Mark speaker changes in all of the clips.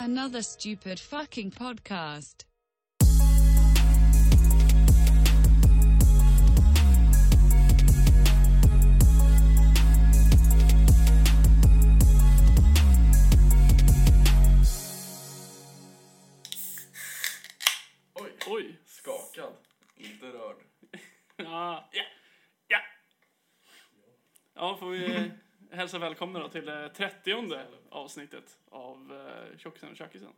Speaker 1: Another stupid fucking podcast.
Speaker 2: Oj,
Speaker 3: Oj!
Speaker 2: skakad. Inte rörd.
Speaker 3: Ja. Ja. ja. Ja, får vi eh, hälsa välkomna då till det 30 avsnittet av eh, Tjockisen och Tjackisen.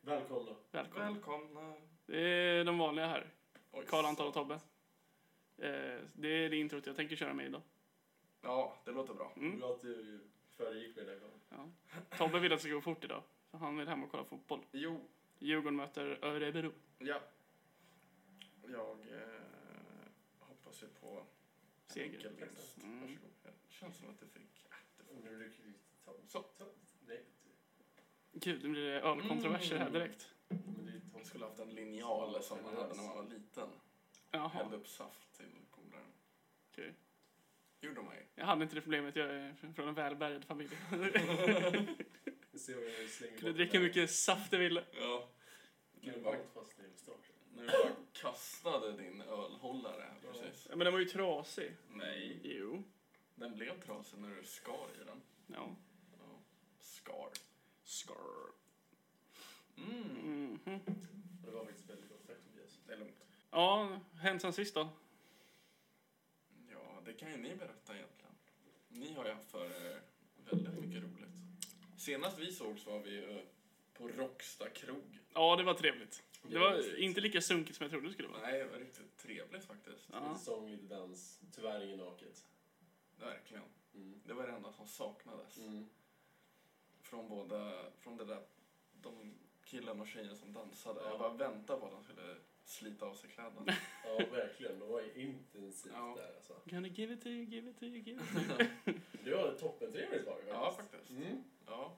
Speaker 4: Välkomna.
Speaker 3: Välkomna.
Speaker 2: Välkomna.
Speaker 3: Det är de vanliga här.
Speaker 2: Oj.
Speaker 3: Karl, Anton och Tobbe. Eh, det är det introt jag tänker köra med idag.
Speaker 2: Ja, det låter bra.
Speaker 3: Mm.
Speaker 4: Bra att du föregick mig den här gången.
Speaker 3: Ja. Tobbe vill att det ska gå fort idag. För han vill hem och kolla fotboll.
Speaker 2: Jo,
Speaker 3: Djurgården möter Örebro.
Speaker 2: ja. Jag eh, hoppas ju på en
Speaker 3: Seger.
Speaker 2: enkel vinst.
Speaker 3: Mm.
Speaker 2: Varsågod. Det känns som att du fick... äh, det får-
Speaker 4: Om du blir kvickt. Tom.
Speaker 2: Så.
Speaker 4: Tom. Nej.
Speaker 3: Gud, nu blir det ölkontroverser här direkt.
Speaker 4: Men det är Tom.
Speaker 2: Man skulle haft en linjal som man hade när man var liten.
Speaker 3: Jaha,
Speaker 2: Hällde upp saft till polaren.
Speaker 3: okej.
Speaker 2: Gjorde man ju.
Speaker 3: Jag hade inte det problemet. Jag är från en välbärgad familj.
Speaker 4: Vi ser vad jag slänger
Speaker 3: Kunde
Speaker 4: bort
Speaker 3: dricka
Speaker 4: den.
Speaker 3: mycket saft jag ville.
Speaker 2: Ja.
Speaker 4: Kan
Speaker 2: När
Speaker 4: du
Speaker 2: du
Speaker 4: bara
Speaker 2: bara,
Speaker 4: åt fast i starten?
Speaker 2: när du bara kastade din ölhållare.
Speaker 4: Ja.
Speaker 2: Precis.
Speaker 3: Ja, men den var ju trasig.
Speaker 2: Nej,
Speaker 3: Jo.
Speaker 2: den blev trasig när du skar i den.
Speaker 3: Ja.
Speaker 2: Ja. Skar.
Speaker 3: Scar.
Speaker 2: Mm.
Speaker 3: Mhm.
Speaker 4: Det var faktiskt väldigt gott. Tack Tobias.
Speaker 2: Det är lugnt.
Speaker 3: Ja, hänt sen sist då?
Speaker 2: Ja, det kan ju ni berätta egentligen. Ni har ju haft för er väldigt mycket roligt. Senast vi sågs var vi ju på Rocksta krog.
Speaker 3: Ja, det var trevligt. Det var
Speaker 4: Jävligt.
Speaker 3: inte lika sunkigt som jag trodde det skulle vara.
Speaker 2: Nej, det var riktigt trevligt faktiskt.
Speaker 3: Ja.
Speaker 4: Lite sång, lite dans. Tyvärr inget naket.
Speaker 2: Verkligen.
Speaker 4: Mm.
Speaker 2: Det var det enda som saknades.
Speaker 4: Mm.
Speaker 2: Från båda, från det där, de killarna och tjejerna som dansade.
Speaker 4: Ja.
Speaker 2: Jag bara väntade på att de skulle slita av sig kläderna.
Speaker 4: Ja, verkligen. Det var intensivt
Speaker 2: Ja.
Speaker 4: där alltså.
Speaker 3: Gonna give it to you, give it to you, give it to you.
Speaker 4: Det var ett toppentrevligt var det
Speaker 2: ja, faktiskt.
Speaker 4: Mm.
Speaker 2: Ja.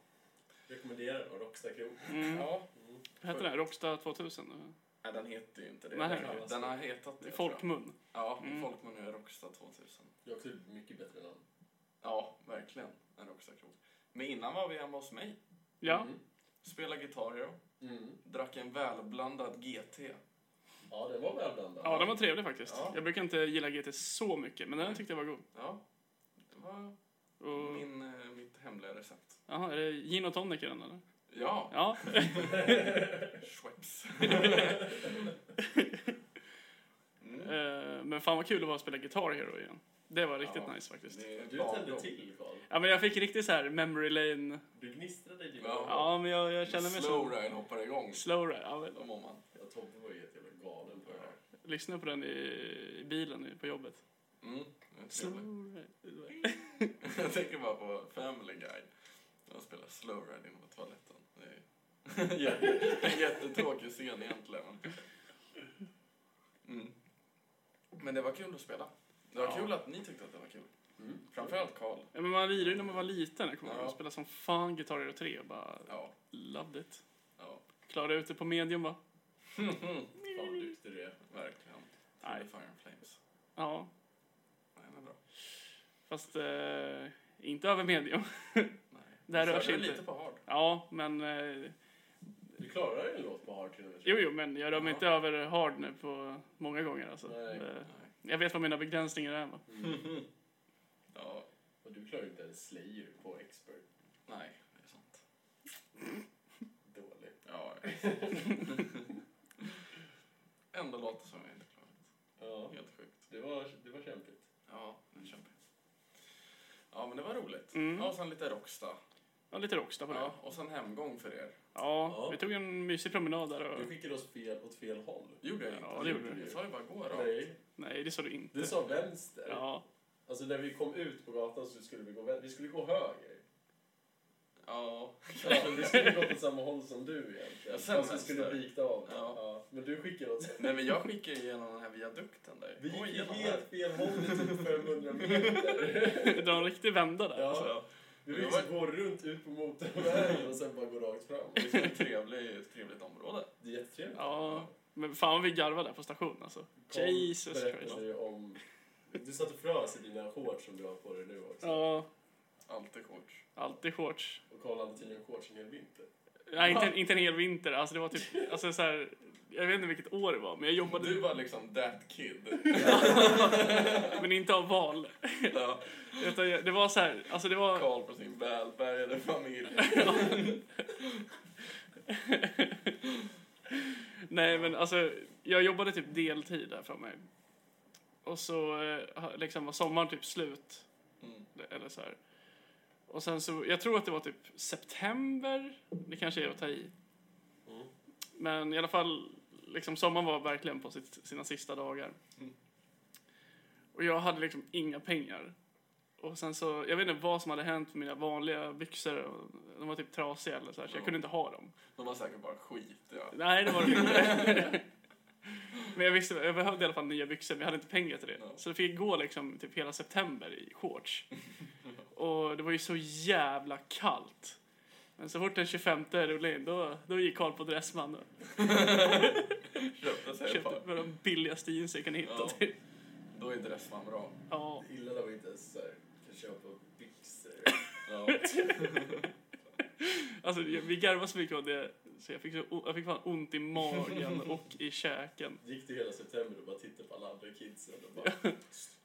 Speaker 4: Rekommenderar och Rocksta krog.
Speaker 3: Mm.
Speaker 2: ja.
Speaker 4: Mm.
Speaker 3: Vad heter det? Rockstar 2000?
Speaker 2: Nej, den heter ju inte det.
Speaker 3: Nej.
Speaker 2: Den, den har hetat
Speaker 3: Det
Speaker 2: det.
Speaker 3: är
Speaker 2: tror jag.
Speaker 3: folkmun.
Speaker 2: Ja,
Speaker 3: Mm.
Speaker 2: folkmun är Rocksta 2000.
Speaker 4: Det är också ett mycket bättre namn.
Speaker 2: Ja, verkligen. En rockstakrog. Men innan var vi hemma hos mig.
Speaker 3: Ja.
Speaker 4: Mm.
Speaker 2: Spelade gitarr, ja.
Speaker 4: Mm.
Speaker 2: drack en välblandad GT.
Speaker 4: Ja, den var välblandad.
Speaker 3: Ja, den var trevlig faktiskt.
Speaker 2: Ja.
Speaker 3: Jag brukar inte gilla GT så mycket, men den tyckte jag var god.
Speaker 2: Ja, det var
Speaker 3: Och,
Speaker 2: min, eh, mitt hemliga recept.
Speaker 3: jaha, är det gin och tonic i den eller?
Speaker 2: Ja,
Speaker 3: Ja.
Speaker 2: Schweppes. mm.
Speaker 3: Eh, Men fan vad kul det var att spela Guitar Hero igen. Det var riktigt
Speaker 2: Ja.
Speaker 3: nice faktiskt.
Speaker 2: Det är
Speaker 4: Du
Speaker 2: lagom.
Speaker 4: tände till Karl.
Speaker 3: Ja, men jag fick riktigt så här memory lane.
Speaker 4: Du gnistrade i dina
Speaker 2: Ja.
Speaker 4: ögon.
Speaker 3: Ja, men jag, jag känner mig
Speaker 2: Slow
Speaker 3: som...
Speaker 2: ride hoppar igång.
Speaker 3: Slow ride. Ja, men-
Speaker 2: Då mår man.
Speaker 4: Ja, Tobbe var ju helt jävla galen på det här.
Speaker 3: Lyssna på den i, i bilen nu på jobbet.
Speaker 2: Mm. det är trevligt.
Speaker 3: Slow ride.
Speaker 2: Jag tänker bara på Family Guy. De spelar slow ride inne på toaletten. Det är en jättetråkig scen egentligen. Mm. Men det var kul att spela. Det var
Speaker 3: Ja.
Speaker 2: kul att ni tyckte att det var kul.
Speaker 4: Mm.
Speaker 2: Framförallt Karl.
Speaker 3: Ja, men man lirade ju när man var liten. Jag kommer ihåg.
Speaker 2: Ja.
Speaker 3: Jag spelade som fan Guitar Hero 3 och bara
Speaker 2: Ja.
Speaker 3: loved it.
Speaker 2: ja.
Speaker 3: Klarade ut det på medium va?
Speaker 4: Fan vad duktig du är.
Speaker 2: Verkligen.
Speaker 3: Nej.
Speaker 2: Nej. Fire and Flames.
Speaker 3: Ja,
Speaker 2: Nej, men bra.
Speaker 3: fast eh, inte över medium.
Speaker 2: Nej.
Speaker 3: Det här
Speaker 2: Vi
Speaker 3: rör
Speaker 2: körde
Speaker 3: sig inte.
Speaker 2: lite på hard.
Speaker 3: Ja, men... Eh,
Speaker 4: Du klarar en låt på hard till och med.
Speaker 3: jo, jo, men jag rör mig
Speaker 2: Ja.
Speaker 3: inte över hard nu på många gånger alltså.
Speaker 4: Nej.
Speaker 3: Eh,
Speaker 2: Nej.
Speaker 3: Jag vet vad mina begränsningar är va?
Speaker 4: Mm.
Speaker 2: Ja.
Speaker 4: Och du klarar inte ens Slayer på expert.
Speaker 2: Nej, det är sant.
Speaker 4: Dåligt.
Speaker 2: Ja, jag vet. Ändå låter som jag inte klarat.
Speaker 4: Ja,
Speaker 2: Helt sjukt.
Speaker 4: det var, det var kämpigt.
Speaker 2: Ja, det kämpar Ja, men det var roligt.
Speaker 3: Mm.
Speaker 2: Ja, och sen lite Rocksta.
Speaker 3: Ja, lite rockstar på det.
Speaker 2: Ja,
Speaker 3: Ja.
Speaker 2: och sen hemgång för er.
Speaker 4: Ja.
Speaker 3: vi tog en mysig promenad där och...
Speaker 4: Du skickade oss fel, åt fel håll.
Speaker 2: Gjorde jag inte?
Speaker 3: Ja, det gjorde
Speaker 4: du.
Speaker 2: Jag sa ju bara gå rakt.
Speaker 4: Nej,
Speaker 3: Nej, det sa du inte.
Speaker 4: du sa vänster.
Speaker 3: Ja,
Speaker 4: Alltså när vi kom ut på gatan så skulle vi gå vänster. Vi skulle gå höger.
Speaker 2: Ja.
Speaker 4: Ja, men vi skulle gå åt samma håll som du
Speaker 2: Ja, sen
Speaker 4: egentligen. Fast vi
Speaker 2: vänster.
Speaker 4: skulle vikta av.
Speaker 2: Ja.
Speaker 4: Men du skickade oss.
Speaker 2: Nej, men jag skickade igenom den här viadukten där.
Speaker 4: Vi gick ju
Speaker 2: igenom
Speaker 4: helt fel håll i typ 500 meter.
Speaker 3: dra en riktig vända där.
Speaker 4: Ja.
Speaker 2: här. Ja.
Speaker 4: Vi vill liksom gå runt ut på motorvägen och sen bara gå rakt fram.
Speaker 2: Det är ett trevligt, trevligt område.
Speaker 4: Det är jättetrevligt.
Speaker 3: Ja, men fan vad vi garvade där på stationen alltså.
Speaker 4: Kom,
Speaker 3: Jesus
Speaker 4: berättade
Speaker 3: Christ.
Speaker 4: du om... Du satt och frös i dina shorts som du har på dig nu också.
Speaker 3: Ja,
Speaker 2: Alltid shorts.
Speaker 3: alltid shorts.
Speaker 4: Och Karl hade tydligen shorts en hel vinter.
Speaker 3: Nej, inte, en- inte en hel vinter. Alltså det var typ, alltså så här, jag vet inte vilket år det var, men jag jobbade,
Speaker 2: Du var liksom that kid.
Speaker 3: men inte av val.
Speaker 2: Ja,
Speaker 3: Utan jag, det var så här, alltså det var...
Speaker 2: Karl på sin välbärgade familj.
Speaker 3: Nej, men alltså jag jobbade typ deltid där för mig. Och så eh, ha- liksom var sommaren typ slut.
Speaker 2: Mm.
Speaker 3: Eller så här. Och sen så, jag tror att det var typ september, det kanske är att ta i.
Speaker 4: Mm.
Speaker 3: Men i alla fall, liksom sommaren var verkligen på sitt, sina sista dagar.
Speaker 2: Mm.
Speaker 3: Och jag hade liksom inga pengar. Och sen så, jag vet inte vad som hade hänt med mina vanliga byxor. och De var typ trasiga eller så här, så jag
Speaker 2: Ja.
Speaker 3: kunde inte ha dem.
Speaker 2: De var säkert bara skit, ja.
Speaker 3: Nej, det var det inte. Men jag visste, jag behövde i alla fall nya byxor, men jag hade inte pengar till det.
Speaker 2: Ja.
Speaker 3: Så det fick gå liksom typ hela september i shorts. Och det var ju så jävla kallt. Men så fort den 25 rullade in, då, då gick Karl på Dressman och
Speaker 2: Köpte sig ett
Speaker 3: köpte
Speaker 2: par.
Speaker 3: med de billigaste jeansen jag kunde hitta.
Speaker 2: Ja.
Speaker 3: Typ.
Speaker 2: Då är inte resten bra.
Speaker 3: Ja.
Speaker 4: Illa när vi inte ens så här, kan köpa byxor.
Speaker 2: Ja.
Speaker 3: Alltså, jag- vi garvade så mycket av det, så jag fick, så, o- jag fick fan ont i magen och i käken.
Speaker 4: Gick du hela september och bara tittade på alla andra kidsen och bara...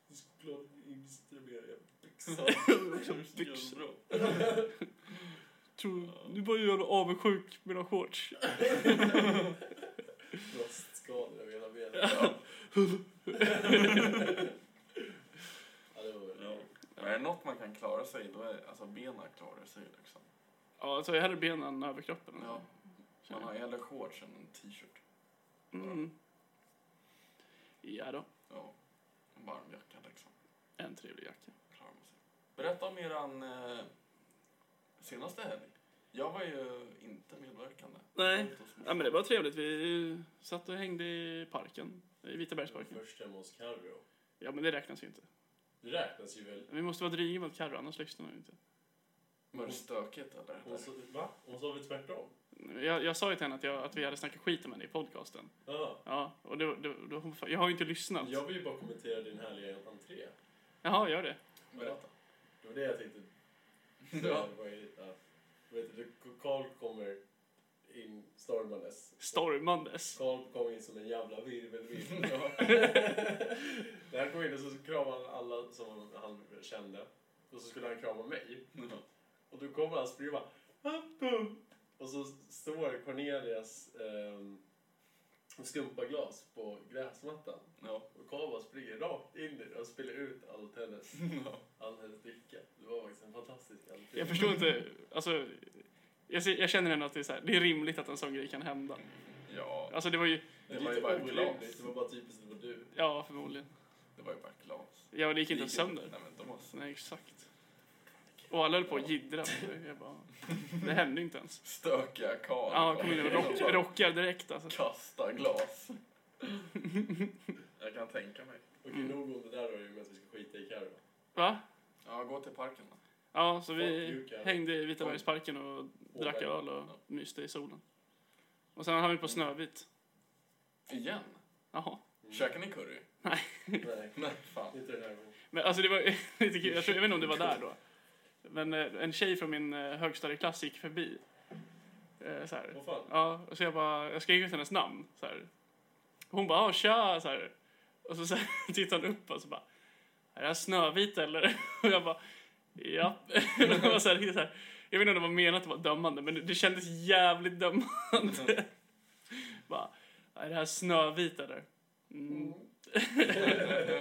Speaker 4: Du skulle ha installera
Speaker 2: Liksom
Speaker 4: byxor.
Speaker 3: Byxor. Tror, nu börjar jag avundsjuk med de shorts.
Speaker 4: Rostskador över hela benet. Ja, det var väl...
Speaker 2: Ja. Men Är det något man kan klara sig, då är alltså benen klarar sig liksom.
Speaker 3: Ja, alltså jag hade benen än överkroppen.
Speaker 2: Ja. Man har ju hellre shorts än en t-shirt.
Speaker 3: Mm. Ja då,
Speaker 2: Ja. En varm jacka liksom.
Speaker 3: en trevlig jacka.
Speaker 2: Klarar man sig. Berätta om eran eh, senaste helg. Jag var ju inte medverkande.
Speaker 3: Nej.
Speaker 2: Jag var ute hos
Speaker 3: Ja,
Speaker 2: morsan.
Speaker 3: men det var trevligt. Vi satt och hängde i parken, i Vitabergsparken.
Speaker 4: Först hemma hos Carro.
Speaker 3: Ja, men det räknas ju inte.
Speaker 4: Det räknas ju väl.
Speaker 3: Vi måste vara dryga mot Carro, annars lyssnar hon ju inte.
Speaker 2: Var det stökigt eller?
Speaker 4: Hon sa, va? Hon sa väl tvärtom?
Speaker 3: Jag, jag sa ju till henne att, jag, att vi hade snackat skit om henne i podcasten.
Speaker 4: Ja.
Speaker 3: Ja, och det, det, då- hon- jag har ju inte lyssnat.
Speaker 4: Jag vill ju bara kommentera din härliga entré.
Speaker 3: Jaha, gör det.
Speaker 2: Berätta.
Speaker 4: Det var det jag tänkte.
Speaker 2: Ja.
Speaker 4: Ja. Det var ju, ja. Vet du, Carl kommer in stormandes.
Speaker 3: Stormandes.
Speaker 4: Carl kom in som en jävla virvelvind. När han kom in och så kramade han alla som han kände. Och så skulle han krama mig. Och då kommer han springa och bara, "Appo!" Och så står Cornelias eh, skumpaglas på gräsmattan.
Speaker 2: Ja.
Speaker 4: Och Carl bara springer rakt in i det och spiller ut allt hennes,
Speaker 2: Ja.
Speaker 4: all hennes dricka. Det var faktiskt en fantastisk entré.
Speaker 3: Jag förstår inte, alltså... Jag, ser- jag känner ändå att det är, så här, det är rimligt att en sån grej kan hända.
Speaker 2: Ja.
Speaker 3: Alltså det var ju,
Speaker 4: Det,
Speaker 2: Det
Speaker 4: var ju bara orimligt,
Speaker 2: glas.
Speaker 4: det var bara typiskt det var du.
Speaker 3: ja förmodligen.
Speaker 2: Det var ju bara glas.
Speaker 3: Ja, det gick inte sönder.
Speaker 2: Nej men de var
Speaker 3: Nej, exakt. Och alla höll på att jiddra med det. Jag bara, det hände ju inte ens.
Speaker 2: stökiga karlar.
Speaker 3: Ja, han kom in och rock,
Speaker 2: bara
Speaker 3: rockar direkt alltså.
Speaker 2: Kasta glas. Jag kan tänka mig.
Speaker 4: Okej,
Speaker 3: Mm.
Speaker 4: nog om det där då, i och med att vi ska skita i Carro.
Speaker 3: Va?
Speaker 2: Ja, gå till parken då.
Speaker 3: Ja, så vi hängde i Vitabergsparken och drack öl och myste i solen. Och sen hann vi på Snövit.
Speaker 2: Igen?
Speaker 3: Jaha.
Speaker 2: Käkar ni curry?
Speaker 4: Mm. Nej,
Speaker 2: Nej, fan.
Speaker 4: inte den här gången.
Speaker 3: Men alltså det var lite kul, jag, tror, jag vet inte om det var där då. Men eh, en tjej från min eh, högstadieklass gick förbi. Eh, Så här.
Speaker 4: Vad fan?
Speaker 3: Ja, och så jag bara, jag skrek ut hennes namn. Så här. Hon bara, "Ja, tja, så här. Och så, så här, tittade hon upp och så bara, är det här Snövit eller? Och jag bara, ja. Och det var så här, riktigt så här, jag vet inte om det var menat att vara dömande, men det, det kändes jävligt dömande. bara, är det här Snövit eller? Mm.
Speaker 4: Ja,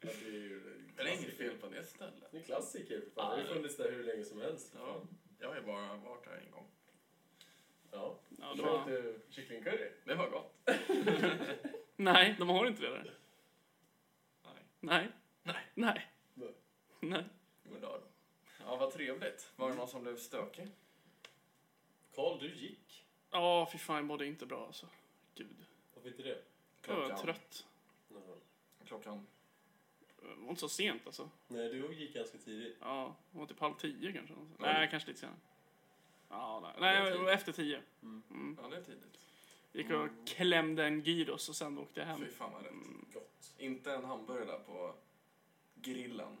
Speaker 4: det är ju
Speaker 2: Det är inget fel på det stället.
Speaker 4: Det är en klassiker för fan. Det har ju funnits där hur länge som helst. för
Speaker 2: Ja,
Speaker 4: fan.
Speaker 2: jag har ju bara varit där en gång.
Speaker 4: Ja.
Speaker 3: Ja, det
Speaker 4: Kör
Speaker 3: var,
Speaker 4: inte kycklingcurry?
Speaker 2: Det var gott.
Speaker 3: nej, de har inte det där.
Speaker 2: Nej.
Speaker 3: Nej.
Speaker 2: Nej.
Speaker 3: Nej.
Speaker 4: Nej.
Speaker 3: Nej.
Speaker 2: Goddag. Ja, vad trevligt. Var det någon som blev stökig?
Speaker 4: Carl, du gick.
Speaker 3: Ja, fy fan, jag mådde inte bra alltså. Gud.
Speaker 4: Varför inte det?
Speaker 3: Jag var trött.
Speaker 4: Nej.
Speaker 2: Klockan.
Speaker 3: Det var inte så sent alltså.
Speaker 4: Nej, du gick ganska tidigt.
Speaker 3: Ja, det var typ halv tio kanske. Nej,
Speaker 2: Ja,
Speaker 3: nej
Speaker 2: det-
Speaker 3: kanske lite senare. Ja, nej,
Speaker 2: Det var
Speaker 3: nej det
Speaker 2: tidigt.
Speaker 3: var efter tio.
Speaker 4: Mm.
Speaker 3: Mm.
Speaker 2: Ja, det är tidigt.
Speaker 3: Gick och klämde en gyros och sen åkte jag hem.
Speaker 2: Mm. Fy fan vad rätt.
Speaker 3: Mm.
Speaker 4: Gott.
Speaker 2: Inte en hamburgare där på grillen.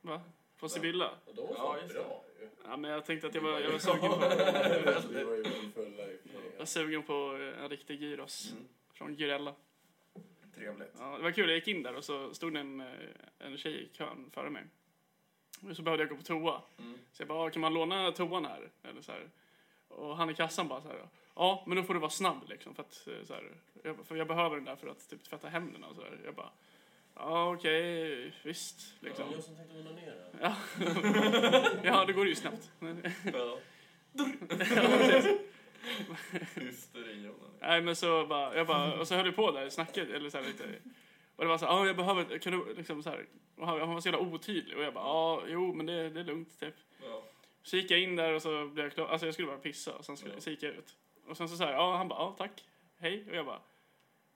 Speaker 3: Va? På Sibylla?
Speaker 4: Och de var
Speaker 2: Ja,
Speaker 4: fan
Speaker 2: just
Speaker 4: bra ju.
Speaker 3: Ja, men jag tänkte att jag var, jag var sugen på...
Speaker 4: Vi var ju väldigt fulla i och för sig.
Speaker 3: Jag var sugen på en riktig gyros
Speaker 2: Mm.
Speaker 3: från Gyrella.
Speaker 2: Trevligt.
Speaker 3: Ja, det var kul, jag gick in där och så stod det en, eh, en tjej i kön före mig. Och så behövde jag gå på toa.
Speaker 2: Mm.
Speaker 3: Så jag bara, "Ah, kan man låna toan här? Eller så här. Och han i kassan bara så här, ja men då får du vara snabb liksom. För, att, eh, så här, jag, bara, för jag behöver den där för att typ tvätta händerna och så där. Jag bara, ja okej, visst. Liksom.
Speaker 4: Ja, jag som tänkte onanera.
Speaker 3: Ja. ja, det går ju snabbt. Men-
Speaker 2: Ja. Hysteri, Jonas.
Speaker 3: Nej men så bara, jag bara, och så höll vi på där, snackade eller så här lite. Och det var så här, ja jag behöver, kan du liksom så här. Och han, han var så jävla otydlig och jag bara, ja jo men det, det är lugnt typ.
Speaker 2: Ja.
Speaker 3: Så gick jag in där och så blev jag klar, alltså jag skulle bara pissa och sen skulle,
Speaker 2: Ja.
Speaker 3: så gick jag ut. Och sen så så här, ja han bara, ja tack, hej. Och jag bara,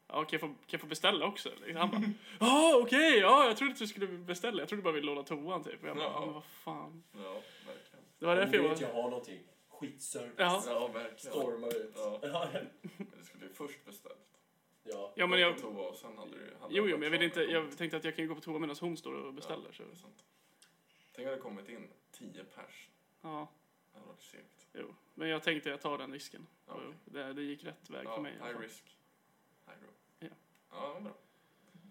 Speaker 3: ja kan jag få, kan jag få beställa också? Liksom. Han bara, ja okej, ja jag trodde att du skulle beställa, jag trodde du bara ville låna toan typ. Och jag bara,
Speaker 2: Ja.
Speaker 3: ja men vad fan.
Speaker 2: ja, verkligen.
Speaker 3: Det var
Speaker 4: Om
Speaker 3: därför
Speaker 4: du
Speaker 3: jag
Speaker 4: vet
Speaker 3: var,
Speaker 4: jag har någonting. Skitservice.
Speaker 3: Ja.
Speaker 2: Ja, verkligen.
Speaker 4: Stormar ut.
Speaker 2: Ja.
Speaker 4: Ja.
Speaker 2: Det skulle ju först beställt.
Speaker 4: ja.
Speaker 3: ja men jag,
Speaker 2: På toa och sen hade du... hade
Speaker 3: jo
Speaker 2: du
Speaker 3: jo men jag vill inte,
Speaker 2: kommit.
Speaker 3: jag tänkte att jag kan gå på toa medan hon står och beställer. Så,
Speaker 2: Ja, det är sant. Tänk om det kommit in tio pers.
Speaker 3: ja.
Speaker 2: Det hade varit segt.
Speaker 3: Jo, men jag tänkte jag tar den risken.
Speaker 2: Ja,
Speaker 3: Och
Speaker 2: okej.
Speaker 3: det, det gick rätt väg
Speaker 2: Ja,
Speaker 3: för mig. i alla
Speaker 2: high
Speaker 3: fall.
Speaker 2: risk. High row.
Speaker 3: Ja.
Speaker 2: Ja, vad bra.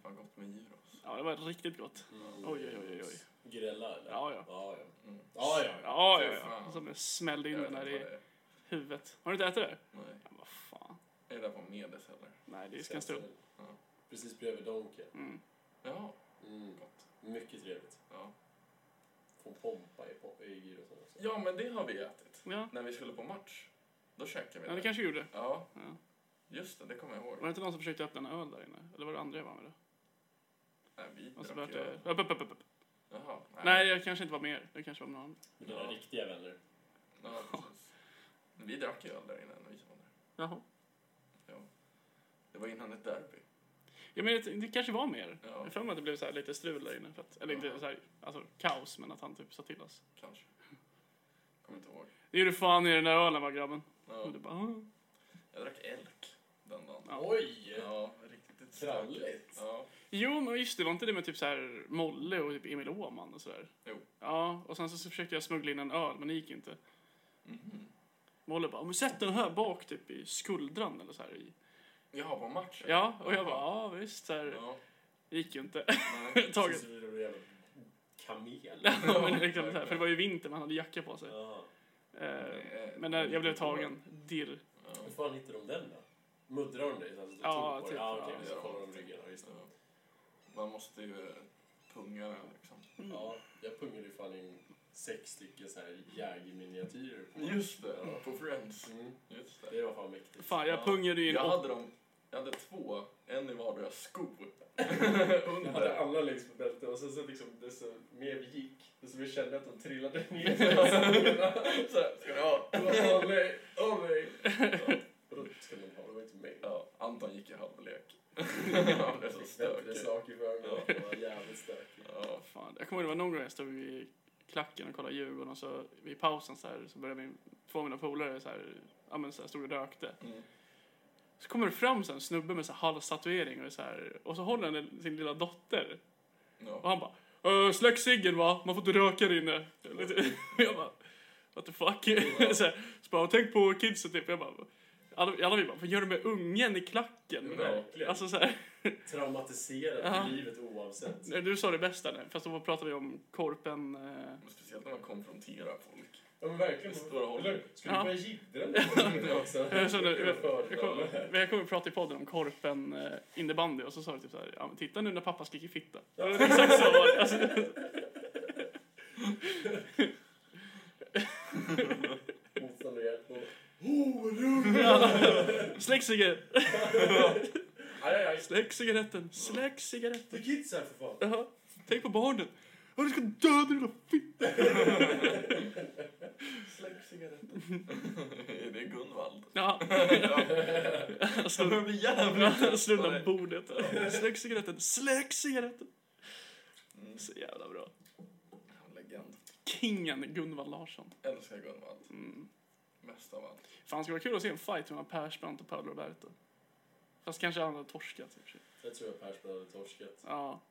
Speaker 2: Fan gott med gyros.
Speaker 3: Ja, det var riktigt gott.
Speaker 4: Mm.
Speaker 3: Oj, oj, oj, oj.
Speaker 4: Grella eller?
Speaker 3: Ja, ja.
Speaker 4: Ja, ja.
Speaker 2: Mm.
Speaker 4: Ja, ja, ja.
Speaker 3: Ja,
Speaker 2: Fy
Speaker 3: ja,
Speaker 2: fan.
Speaker 3: ja. Som jag smällde in
Speaker 2: Jag vet
Speaker 3: den
Speaker 2: inte
Speaker 3: där
Speaker 2: vad
Speaker 3: i
Speaker 2: det är.
Speaker 3: huvudet. Har du inte ätit det?
Speaker 2: Nej.
Speaker 3: Ja, vad fan.
Speaker 2: Är det där på Medes eller?
Speaker 3: Nej, det är Skanstull.
Speaker 2: Ja.
Speaker 4: Precis bredvid Donken.
Speaker 3: Mm.
Speaker 2: Ja,
Speaker 4: Mm.
Speaker 2: gott.
Speaker 4: Mycket trevligt.
Speaker 2: Ja.
Speaker 4: Får pompa i, po- i gyrosen också.
Speaker 2: ja, men det har vi ätit.
Speaker 3: Ja.
Speaker 2: När vi skulle på match, då käkade vi
Speaker 3: ja,
Speaker 2: det.
Speaker 3: det kanske jag gjorde.
Speaker 2: Ja,
Speaker 3: Ja.
Speaker 2: just det. Det kommer jag ihåg.
Speaker 3: Var det inte någon som försökte öppna en öl där inne? Eller var det andra jag var med då?
Speaker 2: Nej, vi
Speaker 3: Och så
Speaker 2: drack
Speaker 3: vart
Speaker 2: ju
Speaker 3: det...
Speaker 2: öl.
Speaker 3: Upp, upp, upp, upp, upp.
Speaker 2: Jaha.
Speaker 3: Nej, jag kanske inte var med er. Det kanske var med någon annan.
Speaker 4: Mina
Speaker 2: Ja.
Speaker 4: riktiga vänner.
Speaker 2: Ja, precis. Vi drack ju öl där inne när vi var där.
Speaker 3: Jaha.
Speaker 2: Det var innan ett derby.
Speaker 3: Ja, men det, det kanske var med er.
Speaker 2: Ja.
Speaker 3: Jag har för mig att det blev så här lite strul där inne. För att, eller
Speaker 2: Ja.
Speaker 3: inte så här, alltså kaos, men att han typ sa till oss.
Speaker 2: Kanske. Kommer inte ihåg.
Speaker 3: Det gjorde fan i den där ölen va grabben?
Speaker 2: Ja.
Speaker 3: Och du bara, "Ah."
Speaker 2: Jag drack elk den dagen.
Speaker 3: Ja.
Speaker 4: Oj!
Speaker 2: Ja, riktigt
Speaker 4: Kralligt.
Speaker 2: stökigt. Ja.
Speaker 3: Jo, men just det, var inte det med typ så här Molle och typ Emil Åhman och sådär?
Speaker 2: Jo.
Speaker 3: Ja, och sen så, så försökte jag smuggla in en öl, men det gick inte.
Speaker 2: Mhm.
Speaker 3: Molle bara, men sätt den här bak typ i skuldran eller så här i.
Speaker 2: Jaha, på matchen?
Speaker 3: Ja, och jag bara, ja visst, så här.
Speaker 2: Ja,
Speaker 3: Det gick ju inte.
Speaker 2: nej.
Speaker 4: Precis
Speaker 3: Taget.
Speaker 4: bredvid någon jävla kamel.
Speaker 3: Ja, men liksom, så här, för det var ju vinter, man hade jacka på sig.
Speaker 4: Ja.
Speaker 3: Eh, men när jag blev tagen, dirr.
Speaker 2: Ja.
Speaker 4: Hur fan hittade de den då? Muddrar de dig? Alltså,
Speaker 3: Ja,
Speaker 4: ja, typ.
Speaker 3: typ,
Speaker 4: Ja, okej.
Speaker 3: ja.
Speaker 4: Så kollar de ryggen. Ja, just det.
Speaker 2: Ja. Man måste ju eh, punga den liksom.
Speaker 3: Mm.
Speaker 4: Ja, jag pungade ju fan in sex stycken så här jägerminiatyrer på
Speaker 3: Mm.
Speaker 2: Just det,
Speaker 4: Ja.
Speaker 2: på Friends.
Speaker 4: Mm,
Speaker 2: Just
Speaker 4: det
Speaker 2: det.
Speaker 4: var fan mäktigt.
Speaker 3: Fan, jag
Speaker 2: Ja.
Speaker 3: pungade ju in.
Speaker 2: Jag
Speaker 3: åt-
Speaker 2: hade, dem, jag hade två, en i vardera sko.
Speaker 4: Jag hade
Speaker 2: Under.
Speaker 4: alla längs med bältet och sen så liksom, desto mer vi gick, desto mer kände jag att de trillade ner. så här, ska du ha? Åh nej, åh nej. Ja, och då ska man ha, det var inte mig.
Speaker 2: Ja, Anton gick i halvlek. Han blev så
Speaker 4: Fick bättre
Speaker 2: stökig.
Speaker 4: saker för mig. Det var jävligt stökigt.
Speaker 2: Ja,
Speaker 3: Fan, jag kommer ihåg det var någon gång jag stod i klacken och kollade Djurgården och så vid pausen så här så började min, två av mina polare så här, ja men så här stod och rökte.
Speaker 2: Mm.
Speaker 3: Så kommer det fram så här en snubbe med så här halstatuering och så här, och så håller han sin lilla dotter och
Speaker 2: ja.
Speaker 3: han bara äh, släck ciggen va, man får inte röka där inne. Jag bara what the fuck. Så, här, så bara tänk på kidsen typ. Jag bara alla, alla vi bara vad gör du med ungen i klacken?
Speaker 4: Verkligen.
Speaker 3: Alltså så här,
Speaker 4: Traumatiserad
Speaker 3: Ja.
Speaker 4: för livet oavsett.
Speaker 3: nej, du sa det bästa där, fast då pratade vi om korpen eh,
Speaker 2: Men Speciellt när man konfronterar folk.
Speaker 4: Ja men verkligen.
Speaker 2: Det står och håller.
Speaker 4: Eller, Ska du
Speaker 3: Ja.
Speaker 4: börja jiddra nu också?
Speaker 3: Jag, känner,
Speaker 4: Det var
Speaker 3: jag,
Speaker 4: fördel.
Speaker 3: jag, kommer, men jag kommer att prata i podden om korpen eh, innebandy och så sa du typ såhär, ja, men titta nu när pappa skriker fitta. Ja. men Exakt så var det. Alltså,
Speaker 4: Motstånd och hjälp. och-
Speaker 3: släck, cigaret,
Speaker 4: Aj, aj, aj.
Speaker 3: släck cigaretten, släck cigaretten.
Speaker 4: För kids här för fan.
Speaker 3: Jaha, tänk på barnen. Ja, du ska döda din lilla fitta.
Speaker 2: Släck cigaretten. det är Gunvald.
Speaker 3: Ja,
Speaker 2: Jag börjar bli jävligt trött på
Speaker 3: slå
Speaker 2: dig.
Speaker 3: undan bordet. Släck cigaretten, släck cigaretten.
Speaker 2: Mm.
Speaker 3: Så jävla bra.
Speaker 2: Legend.
Speaker 3: Kingen Gunvald Larsson.
Speaker 2: Älskar Gunvald.
Speaker 3: Mm.
Speaker 2: Mest av allt.
Speaker 3: Fan, det skulle vara kul att se en fight mellan Persbrandt och Paolo Roberto. Fast kanske han hade torskat i och för sig.
Speaker 4: Jag tror att Persbrandt hade torskat.
Speaker 3: Ja.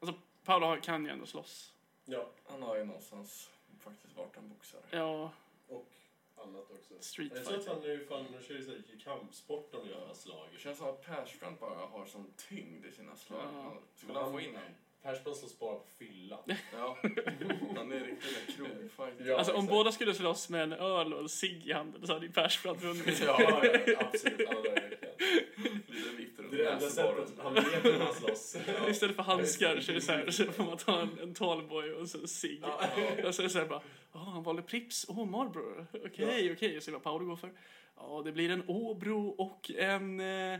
Speaker 3: Alltså, Paolo har- kan ju ändå slåss.
Speaker 4: Ja,
Speaker 2: Han har ju någonstans faktiskt varit en boxare.
Speaker 3: Ja,
Speaker 4: och annat också.
Speaker 3: Street
Speaker 4: jag tror att
Speaker 3: fighter.
Speaker 4: han nu fan nu kör ju så här kampsport om jag slag.
Speaker 2: Det känns som att Persbrandt bara har sån tyngd i sina slag.
Speaker 3: Ja.
Speaker 2: Han- Skulle han få in honom?
Speaker 4: Persbrandt slåss bara på fylla.
Speaker 2: Ja. Han är riktigt krogfighter.
Speaker 4: Ja,
Speaker 3: Alltså om
Speaker 4: exakt.
Speaker 3: båda skulle slåss med en öl och en cigg i handen så hade ju Persbrandt vunnit.
Speaker 4: ja, ja, absolut. Han har verkligen.
Speaker 2: Lite Viktor och
Speaker 4: Det är det enda sättet han vet hur man slåss.
Speaker 3: Istället för handskar så är det så här, så får man ta en, en talboy och så en cigg.
Speaker 4: Ja.
Speaker 3: Och så är det så här bara, ja han valde Prips, åh Marlboro, okej okej. Och så vad Paolo går för, ja det blir en Åbro och en eh,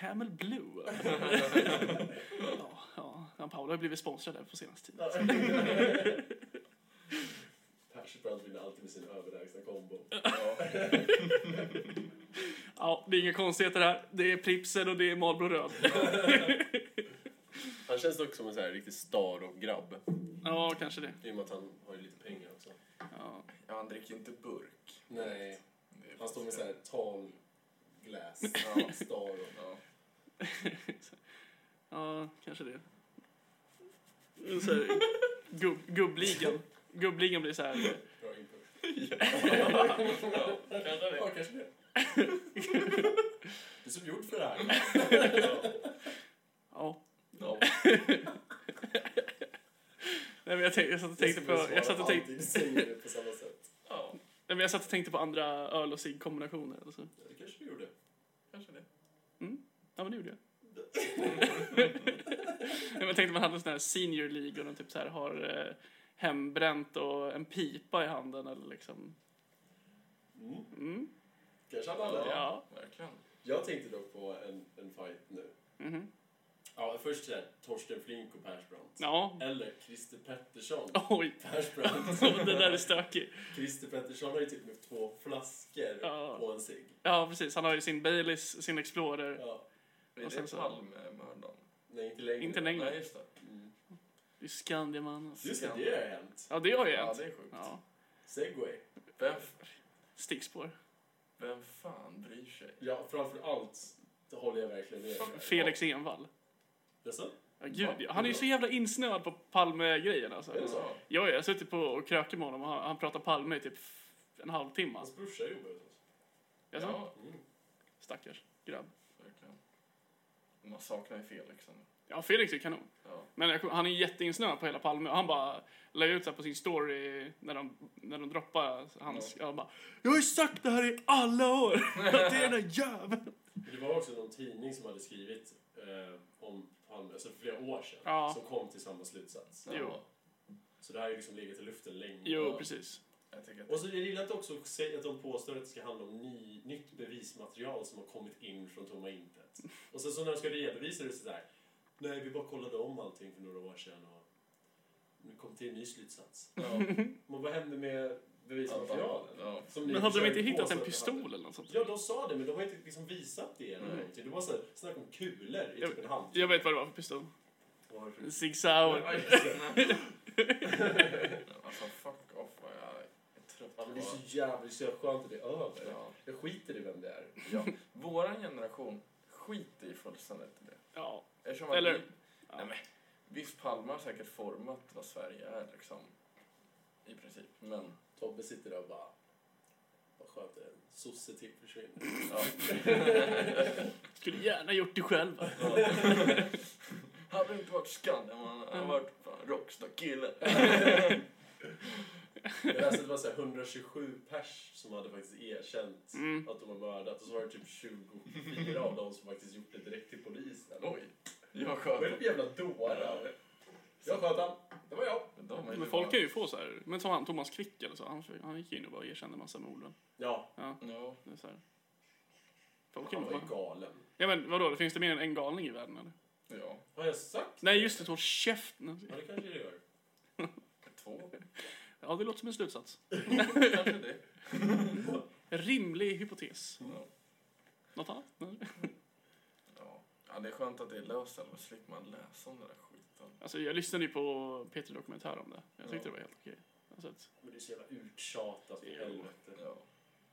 Speaker 3: Camel Blue. ja, ja, han Paolo har blivit sponsrad där på senaste tiden.
Speaker 4: Persbrandt vinner alltid med sin överlägsna kombo.
Speaker 3: Ja, det är inga konstigheter här. Det är Pripsen och det är Marlboro Röd.
Speaker 4: Han känns dock som en så här riktig star och grabb.
Speaker 3: Ja, kanske det.
Speaker 4: I och med att han har ju lite pengar också.
Speaker 3: Ja.
Speaker 2: Ja, han dricker inte burk.
Speaker 4: Nej,
Speaker 2: Det är
Speaker 4: han står med
Speaker 2: faktiskt-
Speaker 4: så här tall glass.
Speaker 2: Ja.
Speaker 4: Star och...
Speaker 2: Ja.
Speaker 3: Ja, kanske det. Så här, gubb, gubbligan. Gubbligan blir så här...
Speaker 4: Bra input.
Speaker 2: Ja, kanske det.
Speaker 4: Ja, kanske det. Du är som gjord för det här.
Speaker 3: Ja.
Speaker 2: Ja.
Speaker 3: Nej, men jag, tänkte, jag satt och tänkte på... Jag satt och tänkte,
Speaker 4: Alltid säger det på samma sätt.
Speaker 2: ja,
Speaker 3: nej, men jag satt och tänkte på andra öl och ciggkombinationer. Alltså.
Speaker 4: Ja, det kanske du gjorde.
Speaker 2: kanske det.
Speaker 3: Ja, men det gjorde jag. nej, men jag tänkte man hade en sån här senior league och de typ så här har eh, hembränt och en pipa i handen eller liksom...
Speaker 4: Mm.
Speaker 3: Mm.
Speaker 4: Kanske han hade.
Speaker 3: Ja.
Speaker 2: Verkligen.
Speaker 4: Jag tänkte dock på en, en fight nu.
Speaker 3: Mhm.
Speaker 4: Ja, först så här, Torsten Flink och Persbrandt.
Speaker 3: Ja.
Speaker 4: Eller Christer Pettersson.
Speaker 3: Oj.
Speaker 4: Persbrandt.
Speaker 3: Det där är stökigt.
Speaker 4: Christer Pettersson har ju typ med två flaskor
Speaker 3: Ja.
Speaker 4: och en cigg.
Speaker 3: Ja, precis. Han har ju sin Baileys, sin Explorer.
Speaker 4: Ja.
Speaker 2: Är
Speaker 3: Och sen
Speaker 2: det
Speaker 3: så-
Speaker 2: Palmemördaren?
Speaker 4: Nej, inte längre.
Speaker 3: Inte längre.
Speaker 2: Nej, just det.
Speaker 4: Mm.
Speaker 3: Det är Skandiamannen.
Speaker 4: Just det, det har hänt.
Speaker 3: Ja, det har ju
Speaker 2: Ja,
Speaker 3: hänt.
Speaker 2: det är sjukt.
Speaker 3: Ja.
Speaker 4: Segway.
Speaker 2: Vem,
Speaker 3: Stickspår.
Speaker 2: vem fan bryr sig?
Speaker 4: Ja, framför allt det håller jag verkligen med. dig.
Speaker 3: Felix Envall.
Speaker 4: Jaså?
Speaker 3: Ja, gud, ja. Han är ju så jävla insnöad på Palme-grejen.
Speaker 4: Är
Speaker 3: Alltså.
Speaker 4: det så?
Speaker 3: Ja, jag har suttit på och krökat med honom och han, han pratar Palme i typ en halvtimme.
Speaker 4: Hans brorsa jobbar hos oss.
Speaker 3: Jaså?
Speaker 2: Ja,
Speaker 4: Mm.
Speaker 3: Stackars grabb.
Speaker 2: verkligen. Man saknar ju Felix. ändå.
Speaker 3: Ja, Felix är kanon.
Speaker 2: Ja.
Speaker 3: Men jag, kom- han är jätteinsnöad på hela Palme och han bara la ut så här på sin story när de, när de droppade hans... Han bara Jag har ju sagt det här i alla år! Att det är den där jäveln!
Speaker 4: Det var också någon tidning som hade skrivit eh, om Palme, alltså för flera år sedan,
Speaker 3: Ja.
Speaker 4: som kom till samma slutsats.
Speaker 3: Jo.
Speaker 2: Ja,
Speaker 4: Så det här har ju liksom legat i luften länge.
Speaker 3: Jo, precis.
Speaker 2: jag tycker att
Speaker 4: Och så jag gillar att också säga att de påstår att det ska handla om ny, nytt bevismaterial som har kommit in från tomma intet. Och sen så när de ska redovisa det så där. Nej, vi bara kollade om allting för några år sedan och nu kom till en ny slutsats. Men vad hände med bevismaterialet?
Speaker 2: Ja.
Speaker 4: Som ni
Speaker 3: Men hade de
Speaker 4: försöker
Speaker 3: inte hittat
Speaker 4: påstå
Speaker 3: en
Speaker 4: att de hade?
Speaker 3: pistol eller något sånt?
Speaker 4: Ja, de sa det, men de har inte liksom visat det eller någonting. Det var så här, snack om kulor i
Speaker 3: Mm. Jag-
Speaker 4: typ en hand.
Speaker 3: Jag vet vad det var för pistol.
Speaker 4: Varför?
Speaker 3: En Sig Sauer.
Speaker 4: Ja, just det.
Speaker 2: Alltså fuck off vad jag är trött
Speaker 4: Ja,
Speaker 2: på.
Speaker 4: men det är så jävligt så jävla skönt att det är över.
Speaker 2: Ja.
Speaker 4: Jag skiter i vem det är.
Speaker 2: Ja. Våran generation skiter ju fullständigt i det.
Speaker 3: Ja.
Speaker 2: Eftersom att
Speaker 3: Eller-
Speaker 2: Vi, nej, men, visst, Palme har säkert format vad Sverige är liksom. I princip. Men
Speaker 4: Tobbe sitter där och bara... Vad skönt det är. en Sosse till försvinner.
Speaker 2: ja.
Speaker 3: Skulle gärna gjort det själv.
Speaker 2: Hade det inte varit Skandia man hade
Speaker 3: Mm.
Speaker 2: varit fan, rockstar-kille.
Speaker 4: Jag läste att det var så här 127 pers som hade faktiskt erkänt
Speaker 3: Mm.
Speaker 4: att de har mördat. Och så var det typ 24 av dem som faktiskt gjort det direkt till polisen.
Speaker 2: Oj. Jag
Speaker 4: Vad är det
Speaker 2: sköt.
Speaker 4: för jävla dårar? Jag sköt han. Det var jag.
Speaker 2: Men de är ju
Speaker 3: Men folk
Speaker 2: bara-
Speaker 3: kan ju få så här. Men som han Thomas Quick eller så. Han, han gick ju in och bara erkände massa med orden.
Speaker 4: Ja,
Speaker 2: Ja.
Speaker 3: Det är så här. Folk kan
Speaker 4: han
Speaker 3: ju
Speaker 4: var ju
Speaker 3: bara...
Speaker 4: galen.
Speaker 3: Ja men vadå, det finns det mer än en galning i världen eller?
Speaker 2: Ja.
Speaker 4: Har jag sagt
Speaker 3: Nej just det, håll käften!
Speaker 4: Ja, det kanske det gör.
Speaker 2: Två.
Speaker 3: Ja det låter som en slutsats.
Speaker 2: Kanske det.
Speaker 3: En rimlig hypotes.
Speaker 2: Ja.
Speaker 3: Något annat? Nej.
Speaker 2: Ja. ja, det är skönt att det är löst i alla fall. slipper man läsa om den där skiten.
Speaker 3: Alltså jag lyssnade ju på Peter Dokumentär om det. Jag tyckte det var helt okej. Alltså, att,
Speaker 4: Men det är så jävla uttjatat för
Speaker 3: Jo.
Speaker 4: helvete.
Speaker 2: Ja.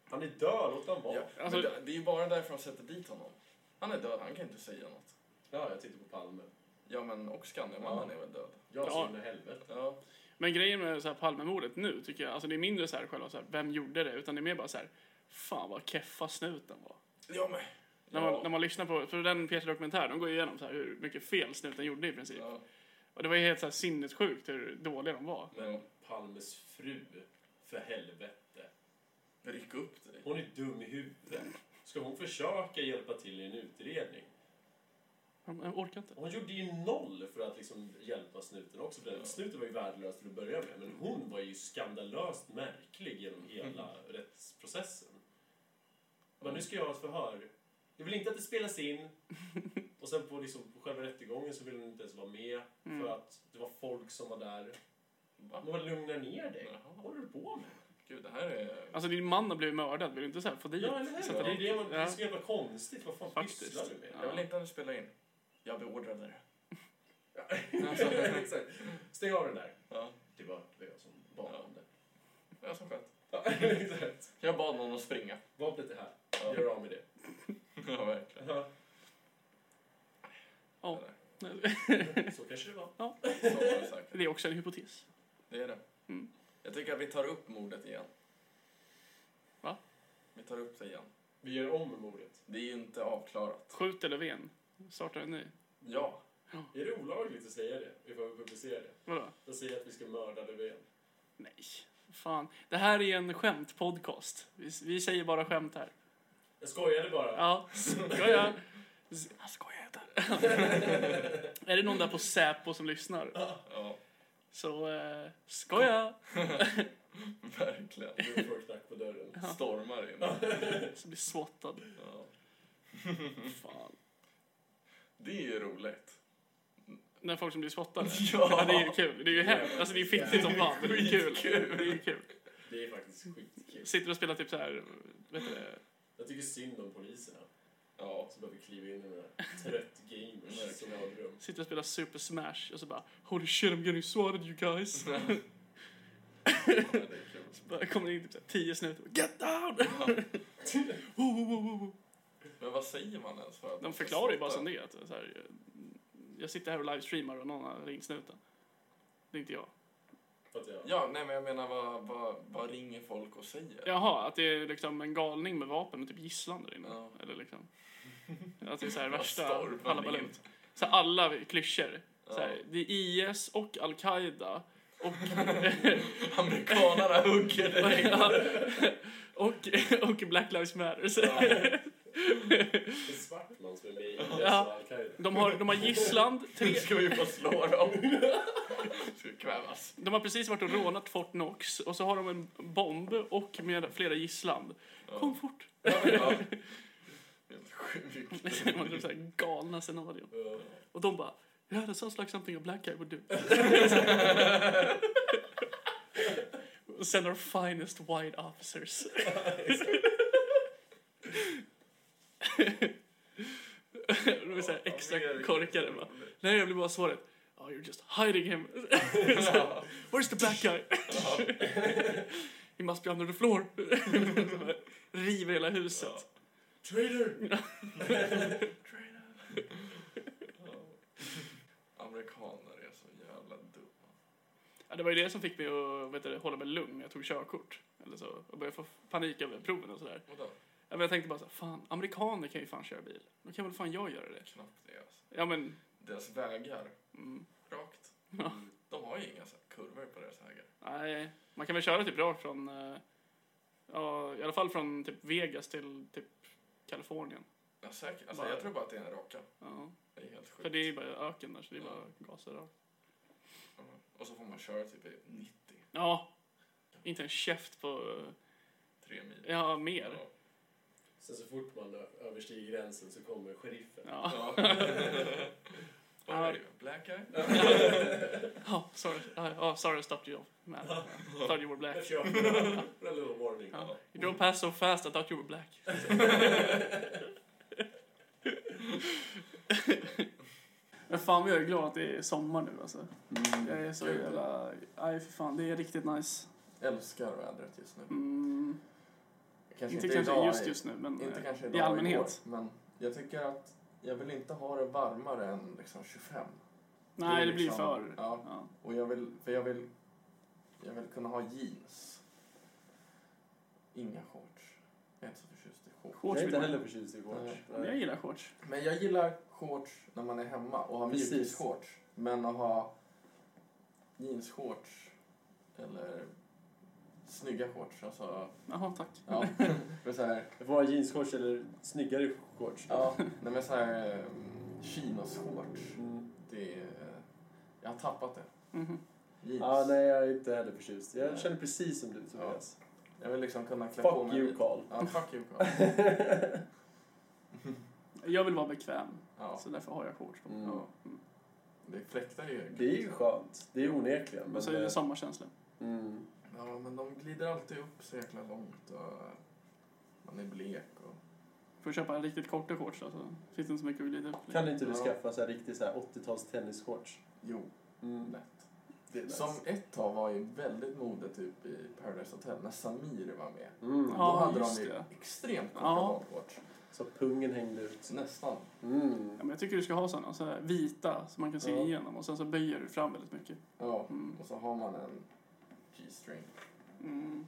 Speaker 4: Han är död, låt han vara.
Speaker 2: Ja,
Speaker 4: Ja.
Speaker 3: Alltså-
Speaker 2: men det, det är ju bara därför de sätter dit honom. Han är död, han kan inte säga något.
Speaker 4: jag tittar på Palme.
Speaker 2: Ja, men och Skandiamannen är väl död.
Speaker 4: Jag
Speaker 3: Ja.
Speaker 4: ja. svimmer helvete.
Speaker 2: Ja,
Speaker 3: Men grejen med så här Palmemordet nu tycker jag, alltså det är mindre så här själva så här, vem gjorde det? Utan det är mer bara så här, fan vad keffa snuten var.
Speaker 2: Jag med.
Speaker 3: När, man, när man lyssnar på, för den Peter dokumentär de går ju igenom så här hur mycket fel snuten gjorde i princip.
Speaker 2: ja.
Speaker 3: Och det var ju helt så här sinnessjukt hur dåliga de var.
Speaker 4: Men Palmes fru, för helvete.
Speaker 2: Ryck upp dig.
Speaker 4: Hon är dum i huvudet. Ska hon försöka hjälpa till i en utredning?
Speaker 3: De- Jag orkar inte.
Speaker 4: Hon gjorde ju noll för att liksom hjälpa snuten också. För den- Snuten var ju värdelös till att börja med, men hon var ju skandalöst märklig genom hela rättsprocessen. Men nu ska jag ha ett förhör. Jag vill inte att det spelas in. Och sen på liksom på själva rättegången så ville hon inte ens vara med för att det var folk som var där.
Speaker 2: Va?
Speaker 4: Men vad lugna ner dig.
Speaker 2: Jaha.
Speaker 4: Vad håller du på med?
Speaker 2: Gud, det här är...
Speaker 3: Alltså din man har blivit mördad, vill du inte så här få dit?
Speaker 4: Ja, eller
Speaker 3: sätta
Speaker 4: hur? Liksom, Det är,
Speaker 3: dit?
Speaker 4: det, man, det är
Speaker 3: Ja.
Speaker 4: så jävla konstigt. Vad fan
Speaker 3: Faktiskt.
Speaker 4: pysslar du med?
Speaker 2: Jag vill inte att du spelar in. Jag beordrade det.
Speaker 4: Exakt. Stäng av den där.
Speaker 2: Ja.
Speaker 4: Det var det var jag som bad om det.
Speaker 2: Jag som skönt.
Speaker 4: Ja, exakt.
Speaker 2: Jag bad någon att springa.
Speaker 4: Vapnet är här.
Speaker 2: Ja.
Speaker 4: Gör av med det.
Speaker 2: Ja, verkligen.
Speaker 3: Ja.
Speaker 4: Så kanske det var.
Speaker 2: Så var det säkert.
Speaker 3: Det är också en hypotes.
Speaker 2: Det är det.
Speaker 3: Mm.
Speaker 2: Jag tycker att vi tar upp mordet igen.
Speaker 3: Va?
Speaker 2: Vi tar upp det igen.
Speaker 4: Vi gör om mordet.
Speaker 2: Det är ju inte avklarat.
Speaker 3: Skjut eller ven? Starta en ny.
Speaker 2: Ja.
Speaker 4: Är det olagligt att säga det? Ifall vi publicerar det?
Speaker 3: Vadå?
Speaker 4: Jag säger att vi ska mörda Löfven.
Speaker 3: Nej, fan. Det här är en skämtpodcast. Vi, vi säger bara skämt här.
Speaker 4: Jag skojade bara.
Speaker 3: Ja, skoja. S- Jag skojar inte. är det någon där på Säpo som lyssnar?
Speaker 2: Ja,
Speaker 3: Så, eh, skoja.
Speaker 2: verkligen.
Speaker 4: Du får knack på dörren.
Speaker 2: Stormar in.
Speaker 3: Så blir swottad.
Speaker 2: Ja.
Speaker 3: Fan.
Speaker 2: Det är ju roligt.
Speaker 3: När folk som blir swottade.
Speaker 2: Ja.
Speaker 3: Ja, det är ju kul. Det är ju hemskt. Alltså det är fittigt som fan. men Det är kul.
Speaker 2: Skitkul.
Speaker 3: Det är kul.
Speaker 4: Det är faktiskt skitkul.
Speaker 3: Sitter och spelar typ så här, vet du det?
Speaker 4: Jag tycker synd om poliserna
Speaker 2: Ja.
Speaker 4: som behöver kliva in i den där trött gamers som har rum.
Speaker 3: Sitter och spelar Super Smash och så bara Holy shit I'm getting swatted you guys.
Speaker 2: Ja, det är kul.
Speaker 3: Så bara kommer det in typ så här tio snutar och bara, Get down! Wo, wo, wo, wo, wo.
Speaker 2: Men vad säger man ens för att...
Speaker 3: De förklarar ju bara som det är, att så här, Jag sitter här och livestreamar och någon har ringt snuten. Det är inte jag.
Speaker 4: Fattar jag?
Speaker 2: Ja, nej men jag menar vad, vad, vad ringer folk och säger?
Speaker 3: Jaha, att det är liksom en galning med vapen och typ gisslan där inne.
Speaker 2: Ja.
Speaker 3: Eller liksom. Att det är så här
Speaker 2: Bara
Speaker 3: värsta
Speaker 2: stormar in.
Speaker 3: halabaloo. Så här, alla klyschor. Så här,
Speaker 2: Ja.
Speaker 3: det är IS och Al-Qaida och
Speaker 2: Amerikanarna hugger dig.
Speaker 3: och, och Black Lives Matter. Så,
Speaker 4: Det är Svartman som är med i IS och
Speaker 3: Ja.
Speaker 4: Al-Qaida.
Speaker 3: de, har, de har gisslan, tre,
Speaker 2: Nu ska vi få slå dem. Ska kvävas.
Speaker 3: de har precis varit och rånat Fort Knox och så har de en bomb och med flera gisslan. Kom fort!
Speaker 2: Ja. Helt sjukt.
Speaker 3: Man tror typ så här galna scenarion.
Speaker 4: Ja.
Speaker 3: Och de bara Yeah, that sounds like something a black guy would do. Och Sen our finest white officers. De är så här extra korkade. Bara. Nej, jag blir bara svaret. Oh, you're just hiding him. Så, Where's the black guy? He must be under the floor. Så bara River hela huset.
Speaker 4: Traitor!
Speaker 2: Amerikaner är så jävla dumma.
Speaker 3: Ja, det var ju det som fick mig att vet du, hålla mig lugn när jag tog körkort. Eller så, och började få panik över proven och sådär.
Speaker 2: Vadå?
Speaker 3: Ja, men jag tänkte bara så här, fan, amerikaner kan ju fan köra bil. Då kan väl fan jag göra det.
Speaker 2: Knappt det alltså.
Speaker 3: Ja men,
Speaker 2: Deras vägar,
Speaker 3: mm,
Speaker 2: rakt.
Speaker 3: Ja.
Speaker 2: De har ju inga så här kurvor på deras vägar.
Speaker 3: nej. Man kan väl köra typ rakt från, eh, ja i alla fall från typ Vegas till typ Kalifornien.
Speaker 2: Ja, säkert. Alltså,
Speaker 3: Bara-
Speaker 2: jag tror bara att det är en raka.
Speaker 3: Ja.
Speaker 2: Det är helt sjukt.
Speaker 3: För det är ju bara öken där så det är bara gasa rakt.
Speaker 2: Ja. Och så får man köra typ i 93
Speaker 3: Ja. Inte en käft på, eh,
Speaker 2: mil.
Speaker 3: ja mer.
Speaker 4: Sen så fort man ö- överstiger gränsen så kommer sheriffen.
Speaker 3: Ja,
Speaker 2: Ja. Vad är det? Black eye?
Speaker 3: oh, sorry, uh, oh, sorry I stopped you off. Man, I thought you were black.
Speaker 4: Där kör vi. En little warning.
Speaker 3: Ja. You drove past so fast I thought you were black. Men fan vad jag är glad att det är sommar nu alltså. Jag är så
Speaker 2: Kul.
Speaker 3: jävla... Nej för fan, det är riktigt nice.
Speaker 2: Älskar vädret just nu.
Speaker 3: Mm.
Speaker 2: Kanske
Speaker 3: Inte kanske
Speaker 2: idag,
Speaker 3: just just nu men
Speaker 2: Inte
Speaker 3: eh,
Speaker 2: kanske idag
Speaker 3: i
Speaker 2: och
Speaker 3: allmänhet.
Speaker 2: igår, men jag tycker att jag vill inte ha det varmare än liksom 25.
Speaker 3: Nej
Speaker 2: är
Speaker 3: det blir
Speaker 2: liksom-
Speaker 3: för...
Speaker 2: Ja.
Speaker 3: Ja.
Speaker 2: Och jag vill, för jag vill Den har jeans. Inga shorts. Jag är inte så förtjust i shorts.
Speaker 4: Jag
Speaker 3: Shorts
Speaker 4: är inte
Speaker 3: vill
Speaker 4: heller
Speaker 3: man.
Speaker 4: förtjust i shorts.
Speaker 2: Nej.
Speaker 3: Men Jag gillar shorts.
Speaker 2: Men jag gillar shorts när man är hemma och har
Speaker 4: Precis.
Speaker 2: mjukisshorts. Men att ha jeansshorts eller snygga shorts, alltså...
Speaker 3: Jaha, tack.
Speaker 2: Ja, men så här,
Speaker 4: Vara jeansshorts eller snyggare shorts.
Speaker 2: ja, nej men så här eh, chinos-shorts.
Speaker 4: Mm.
Speaker 2: Det är, jag har tappat det.
Speaker 3: Mhm.
Speaker 2: Jeans.
Speaker 4: Ja, nej, jag är inte heller förtjust. Jag
Speaker 2: Nej.
Speaker 4: känner precis som du, Tobias.
Speaker 2: Jag vill liksom kunna klä på
Speaker 4: Fuck
Speaker 2: mig
Speaker 4: you,
Speaker 2: lite.
Speaker 4: Carl.
Speaker 2: Ja, fuck you Carl.
Speaker 3: Jag vill vara bekväm,
Speaker 2: Ja,
Speaker 3: så därför har jag shorts på mig.
Speaker 4: Mm.
Speaker 3: Ja. Mm.
Speaker 2: det fläktar ju.
Speaker 4: Det är ju skönt. Det är onekligen.
Speaker 3: Men så är
Speaker 4: eh,
Speaker 3: det sommarkänsla.
Speaker 4: mm.
Speaker 2: Ja, men de glider alltid upp så jäkla långt och man är blek och...
Speaker 3: Får köpa riktigt korta shorts då, så finns det inte så mycket att glida upp.
Speaker 4: Kan inte du
Speaker 2: Ja.
Speaker 4: skaffa så här riktigt så här 80-tals tennisshorts?
Speaker 2: Jo,
Speaker 4: Mm.
Speaker 2: lätt.
Speaker 4: Det är nice.
Speaker 2: Som ett tag var ju väldigt mode typ i Paradise Hotel när Samir var med.
Speaker 4: Mm.
Speaker 3: Ja,
Speaker 2: Då hade
Speaker 3: just
Speaker 2: de ju
Speaker 3: det.
Speaker 2: extremt korta
Speaker 3: Ja.
Speaker 2: badshorts.
Speaker 4: Så pungen hängde ut.
Speaker 2: Nästan.
Speaker 4: Mm.
Speaker 3: Ja, men jag tycker du ska ha sådana, så här vita, som man kan se
Speaker 4: Ja.
Speaker 3: igenom. Och sen så böjer du fram väldigt mycket.
Speaker 2: Ja,
Speaker 3: Mm.
Speaker 2: och så har man en G-string.
Speaker 3: Mm.
Speaker 4: En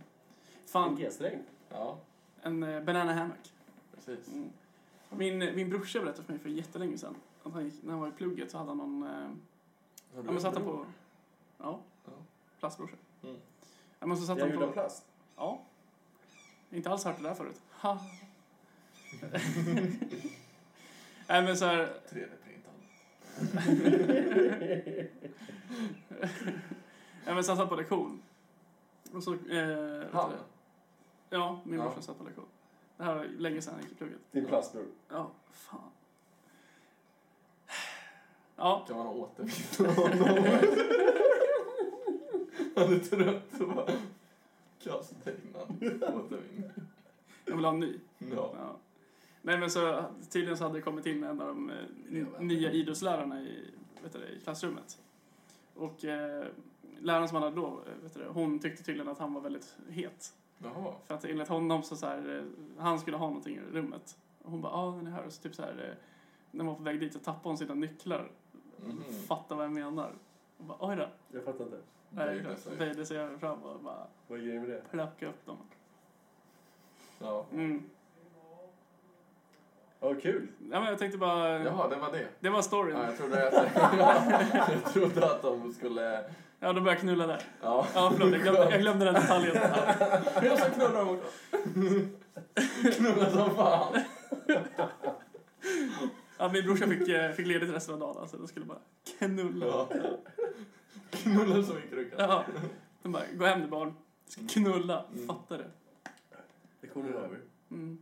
Speaker 3: Fan,
Speaker 4: G-sträng.
Speaker 2: Ja,
Speaker 3: en eh, banana hammock.
Speaker 2: precis.
Speaker 3: Mm. Min, eh, min brorsa berättade för mig för jättelänge sedan att han gick, när han var i plugget så hade han någon... Eh,
Speaker 2: Har du
Speaker 3: ja, men satt
Speaker 2: en
Speaker 3: han
Speaker 2: bror?
Speaker 3: på... Ja,
Speaker 2: Ja.
Speaker 3: plastbrorsa.
Speaker 2: Mm.
Speaker 3: Ja, men så satt
Speaker 4: Jag
Speaker 3: han
Speaker 4: gjorde av
Speaker 3: på...
Speaker 4: plast.
Speaker 3: Ja. Inte alls hört det där förut. Ha. Nej, men så här...
Speaker 2: 3D-printad.
Speaker 3: Ja, men så han satt på lektion. Och så... Eh, vet
Speaker 2: Han?
Speaker 3: du det? Ja, min
Speaker 2: Ja.
Speaker 3: brorsa satt på lektion. Det här var länge sedan han gick i plugget.
Speaker 4: Din plastbror.
Speaker 3: Ja, fan. Ja,
Speaker 2: Kan man återvinna honom? Han är trött och bara kasta innan återvinning.
Speaker 3: jag vill ha en ny.
Speaker 2: Ja.
Speaker 3: Ja. Nej, men så, tydligen så hade det kommit in en av de eh, n- nya idrottslärarna i, vet du, det, i klassrummet. Och eh, läraren som han hade då, eh, vet du, det, hon tyckte tydligen att han var väldigt het.
Speaker 2: Jaha.
Speaker 3: För att enligt honom så, så här, eh, han skulle ha någonting i rummet. Och hon bara, ja den är här. Och så typ så här, eh, när man var på väg dit så tappade hon sina nycklar.
Speaker 2: Mhm.
Speaker 3: Mm. Fattar vad jag menar. Och bara, oj då.
Speaker 4: Jag fattar inte.
Speaker 2: Böjde sig.
Speaker 3: Böjde sig över fram och bara
Speaker 4: Vad är grejen med det?
Speaker 3: plockade upp dem.
Speaker 2: Ja.
Speaker 3: Mm.
Speaker 4: Ja, kul.
Speaker 3: Ja, men jag tänkte bara,
Speaker 2: Jaha, det var det.
Speaker 3: det var
Speaker 2: Ja,
Speaker 3: storyn.
Speaker 2: jag, trodde att, jag trodde att de skulle...
Speaker 3: Ja, då började jag knulla där.
Speaker 2: Ja.
Speaker 3: Ja, förlåt, jag glömde, jag glömde den detaljen.
Speaker 2: Jag ska knulla dem också. Knulla som fan.
Speaker 3: Ja, min brorsa fick, eh, fick ledigt resten av dagen, så då skulle jag bara knulla.
Speaker 2: Ja. Knulla så mycket du kan.
Speaker 3: Ja. De bara, gå hem nu barn. Du ska knulla.
Speaker 2: Mm.
Speaker 3: Fattar du?
Speaker 4: Lektionen är över.
Speaker 3: Mm.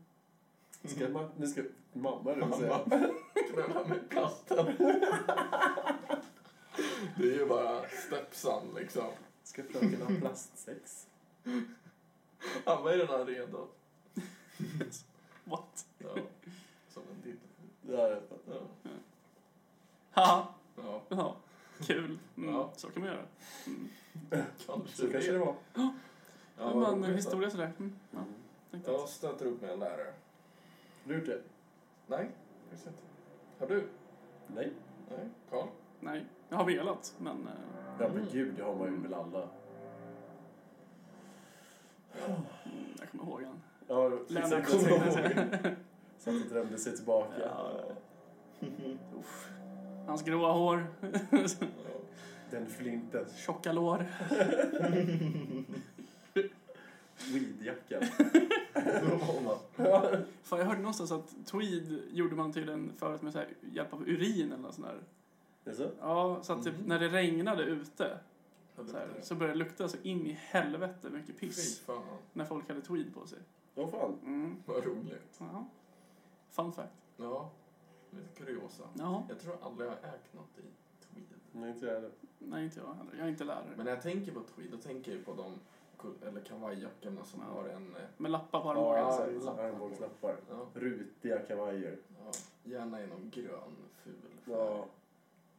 Speaker 4: Ska man, nu ska mamma runt säga.
Speaker 2: Mamma knullar med plasten. Det är ju bara stepsan liksom.
Speaker 4: Ska fröken ha plastsex?
Speaker 2: Han var ju redan redo.
Speaker 3: What?
Speaker 2: Ja, som en didd.
Speaker 4: Ja, jag fattar.
Speaker 2: Ja.
Speaker 3: Haha.
Speaker 2: ja,
Speaker 3: Ja. Kul. Mm.
Speaker 2: Ja.
Speaker 3: Så kan man göra. Mm.
Speaker 2: kanske
Speaker 4: Så kanske det var.
Speaker 3: Ja, det var en historia sådär. Mm. Ja, tänkte
Speaker 2: Jag
Speaker 3: jag.
Speaker 2: stöter upp med en lärare.
Speaker 4: Har du gjort det?
Speaker 2: Nej, visst inte. Har du?
Speaker 4: Nej.
Speaker 2: Nej, Karl?
Speaker 3: Nej, jag har velat, men... eh,
Speaker 4: Ja, men gud, det har man ju väl alla.
Speaker 3: Mm, jag kommer ihåg han.
Speaker 4: Ja,
Speaker 3: Lennart,
Speaker 4: exakt. Jag
Speaker 3: tänkte jag
Speaker 4: kommer
Speaker 3: säga.
Speaker 4: ihåg. Så att det drömde sig tillbaka.
Speaker 3: Ja. Uff. Hans gråa hår,
Speaker 4: Den flinten.
Speaker 3: tjocka lår.
Speaker 4: Weedjackan.
Speaker 3: Fan, jag hörde någonstans att tweed gjorde man tydligen förut med så här, hjälp av urin eller något sånt där.
Speaker 4: Jaså?
Speaker 3: Ja, så att typ
Speaker 2: Mhm.
Speaker 3: när det regnade ute så, här, så började det lukta så in i helvete mycket
Speaker 2: Fy
Speaker 3: piss
Speaker 2: fan,
Speaker 3: när folk hade tweed på sig.
Speaker 4: Åh fan.
Speaker 3: Mm.
Speaker 2: vad roligt.
Speaker 3: Ja. Fun fact.
Speaker 2: Ja, lite kuriosa.
Speaker 3: Ja.
Speaker 2: Jag tror aldrig jag har ägt något i tweed.
Speaker 4: Nej, inte jag heller.
Speaker 3: Nej, inte jag heller. Jag är inte lärare.
Speaker 2: Men när jag tänker på tweed, då tänker jag på de ku- eller kavajjackorna som
Speaker 3: Ja.
Speaker 2: har en... eh,
Speaker 3: Med lappar på
Speaker 4: Ja,
Speaker 3: armbågen.
Speaker 2: alltså.
Speaker 4: exakt. Armbågslappar.
Speaker 2: Ja,
Speaker 4: Rutiga kavajer.
Speaker 2: ja, gärna i någon grön, ful
Speaker 4: Ja.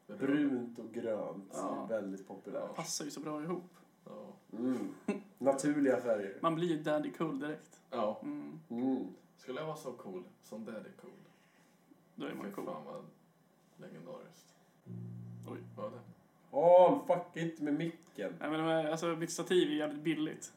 Speaker 2: Röd.
Speaker 4: Brunt och grönt.
Speaker 3: Ja.
Speaker 4: Det är väldigt populärt.
Speaker 3: Passar ju så bra ihop.
Speaker 2: Ja.
Speaker 4: Mm. Naturliga färger.
Speaker 3: Man blir ju daddy cool direkt.
Speaker 2: ja,
Speaker 3: Mm.
Speaker 4: Mm.
Speaker 2: skulle jag vara så cool som Daddy Cool?
Speaker 3: Då är man
Speaker 2: Fy
Speaker 3: cool.
Speaker 2: fan vad legendariskt.
Speaker 3: Oj.
Speaker 2: Vad var det?
Speaker 4: Åh, fuck inte med micken.
Speaker 3: Nej, men de här, alltså, mitt stativ är jävligt billigt.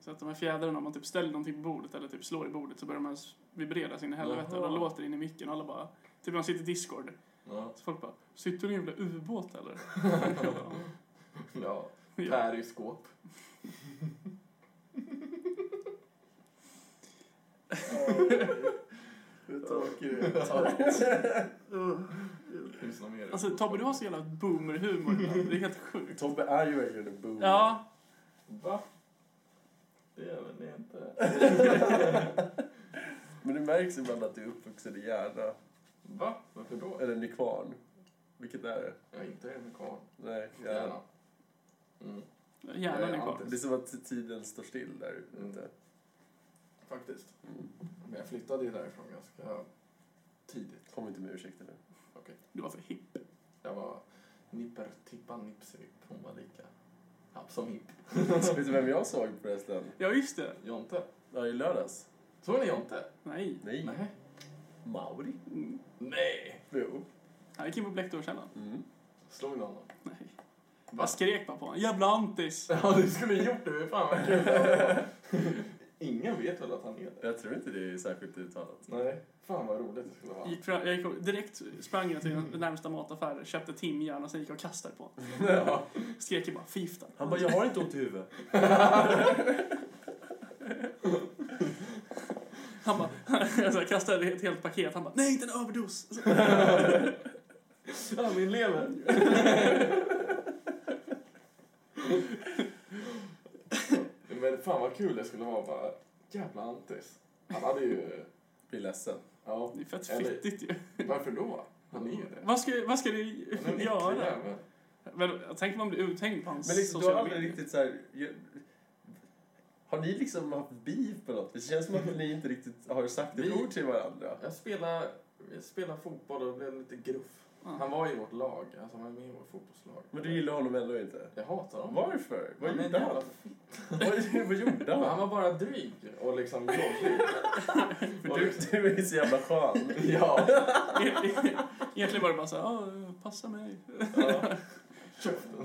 Speaker 3: Så att de här fjädrarna, om man typ ställer någonting på bordet eller typ slår i bordet så börjar de här vibrera sin i helvete och
Speaker 2: Jaha.
Speaker 3: de låter in i micken och alla bara... Typ när man sitter i Discord.
Speaker 2: Ja.
Speaker 3: Så folk bara, sitter du i en jävla ubåt eller?
Speaker 2: ja.
Speaker 3: ja.
Speaker 2: Periskop.
Speaker 4: Hur
Speaker 2: tråkig
Speaker 4: du
Speaker 2: Finns det någon mer?
Speaker 3: Alltså Tobbe, du har så jävla boomerhumor ibland. Det är helt sjukt.
Speaker 4: Tobbe är ju verkligen en boomer.
Speaker 3: Ja,
Speaker 2: Va? Det är väl det inte.
Speaker 4: Men det märks ibland att du är uppvuxen i Järna.
Speaker 2: Va? Varför då?
Speaker 4: Eller Nykvarn. Vilket är det?
Speaker 2: Jag är inte en karl.
Speaker 4: Nej, Järna.
Speaker 2: Gärna. Mm.
Speaker 3: hjärnan är kvar.
Speaker 4: Det är som att tiden står still där ute.
Speaker 2: Faktiskt.
Speaker 4: Mm.
Speaker 2: Men jag flyttade ju därifrån ganska tidigt.
Speaker 4: Kom inte med ursäkter nu.
Speaker 3: Du var för hipp.
Speaker 2: Jag var nipper tippa nipsripp. Hon var lika happ som hipp.
Speaker 4: Vet du vem jag såg förresten?
Speaker 3: Ja, just det.
Speaker 2: Jonte.
Speaker 4: Ja, i lördags.
Speaker 2: Såg ni Jonte?
Speaker 3: Nej.
Speaker 4: Nej.
Speaker 2: Nej.
Speaker 4: Mauri.
Speaker 3: Mm.
Speaker 2: Nej.
Speaker 4: Jo.
Speaker 3: Han gick in på Blecktorkällan.
Speaker 4: Mm.
Speaker 2: Slog ni honom?
Speaker 3: Nej.
Speaker 2: Va?
Speaker 3: Jag skrek bara på honom. Jävla antis!
Speaker 2: Ja, du skulle ha gjort det. Fan vad kul. Ingen vet väl att han är det?
Speaker 4: Jag tror inte det är särskilt uttalat.
Speaker 2: Nej. Fan vad roligt det skulle vara.
Speaker 3: Gick fram, jag gick, direkt sprang jag till den
Speaker 4: Mm.
Speaker 3: närmsta mataffären, köpte timjan och sen gick jag och kastade på honom.
Speaker 4: Ja.
Speaker 3: Skrek ju bara fifta.
Speaker 4: Han bara, jag har inte ont i huvudet.
Speaker 3: Han bara, alltså, jag kastade ett helt paket. Han bara, nej inte en överdos! Alltså,
Speaker 2: Ja, min lever. Men fan vad kul det skulle vara bara. Jävla antis. Han hade ju...
Speaker 4: Blir ledsen.
Speaker 2: Ja,
Speaker 3: det är fett
Speaker 2: Eller-
Speaker 3: fittigt ju.
Speaker 2: varför då? Han är ju det.
Speaker 3: Vad ska, vad ska
Speaker 2: Han är en
Speaker 3: du
Speaker 2: äcklig
Speaker 3: göra?
Speaker 2: jävel.
Speaker 3: Men, jag tänker om man blir uthängd på hans
Speaker 4: Men liksom, du har
Speaker 3: sociala
Speaker 4: aldrig
Speaker 3: medier.
Speaker 4: riktigt så här... ju- Har ni liksom haft beef på något? Det känns som att ni inte riktigt har sagt ett
Speaker 2: Vi-
Speaker 4: ord till varandra.
Speaker 2: Jag spelade, jag spelade fotboll och blev lite gruff.
Speaker 3: Ja.
Speaker 2: Han var i vårt lag, alltså han var med i vårt fotbollslag.
Speaker 4: Men du gillar honom ändå inte?
Speaker 2: Jag hatar honom.
Speaker 4: Varför? Vad
Speaker 2: Han är en
Speaker 4: gjorde
Speaker 2: jävla
Speaker 4: han? Vad, vad gjorde
Speaker 2: Han
Speaker 4: han?
Speaker 2: var bara dryg och liksom jobbig.
Speaker 4: För du, du är så jävla skön.
Speaker 2: ja.
Speaker 3: E-, Egentligen var det bara så här, "Ah, passa mig.
Speaker 2: ja.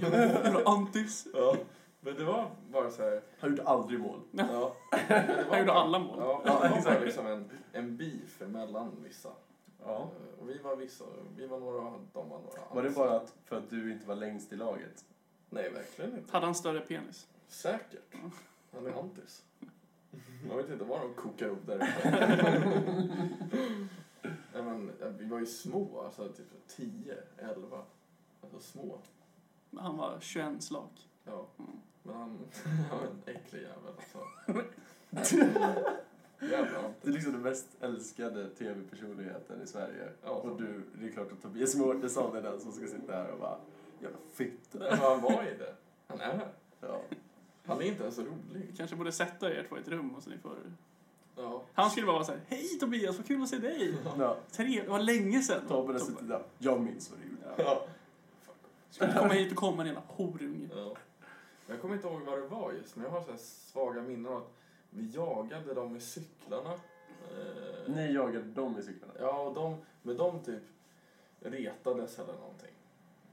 Speaker 3: Jävla antis.
Speaker 2: ja. Men det var bara så här.
Speaker 4: Han gjorde aldrig mål.
Speaker 2: Ja. Men det var
Speaker 3: Han gjorde
Speaker 2: bara-
Speaker 3: alla mål.
Speaker 2: Ja,
Speaker 4: Ja,
Speaker 2: det var bara
Speaker 4: exakt.
Speaker 2: liksom en, en beef mellan vissa.
Speaker 4: Ja.
Speaker 2: Eh, Och vi var vissa, vi var några och de var några.
Speaker 4: Var det bara att, för att du inte var längst i laget?
Speaker 2: Nej, verkligen inte.
Speaker 3: Hade han större penis?
Speaker 2: Säkert. Han är antis. Man vet inte vad de kokar upp där Nej, men eh, Vi var ju små, alltså typ 10, 11. Alltså små.
Speaker 3: Han var 21 slak.
Speaker 2: Ja.
Speaker 3: Mm.
Speaker 2: Men han han var en äcklig jävel alltså. Jävla
Speaker 4: Det är
Speaker 2: antis.
Speaker 4: liksom den mest älskade tv-personligheten i Sverige.
Speaker 2: Ja.
Speaker 4: Och du, det är klart att Tobias Mårtensson är den som ska sitta här och bara Jävla fitta.
Speaker 2: Men han var ju det. Han är.
Speaker 4: Ja.
Speaker 2: Han är inte ens
Speaker 3: Vi
Speaker 2: rolig.
Speaker 3: kanske borde sätta er två i ett rum och så ni får...
Speaker 2: Ja.
Speaker 3: Han skulle bara vara så här, hej Tobias, vad kul att se dig!
Speaker 4: Ja.
Speaker 3: Tre, det var länge sedan.
Speaker 4: Tobbe har suttit där. Jag minns vad du gjorde.
Speaker 2: Ja.
Speaker 3: Ska du komma hit och komma, din jävla horunge?
Speaker 2: Ja. Jag kommer inte ihåg vad det var just, men jag har så här svaga minnen av att vi jagade dem med cyklarna. Eh,
Speaker 4: Ni jagade dem i cyklarna?
Speaker 2: Ja, och de, men de typ retades eller någonting.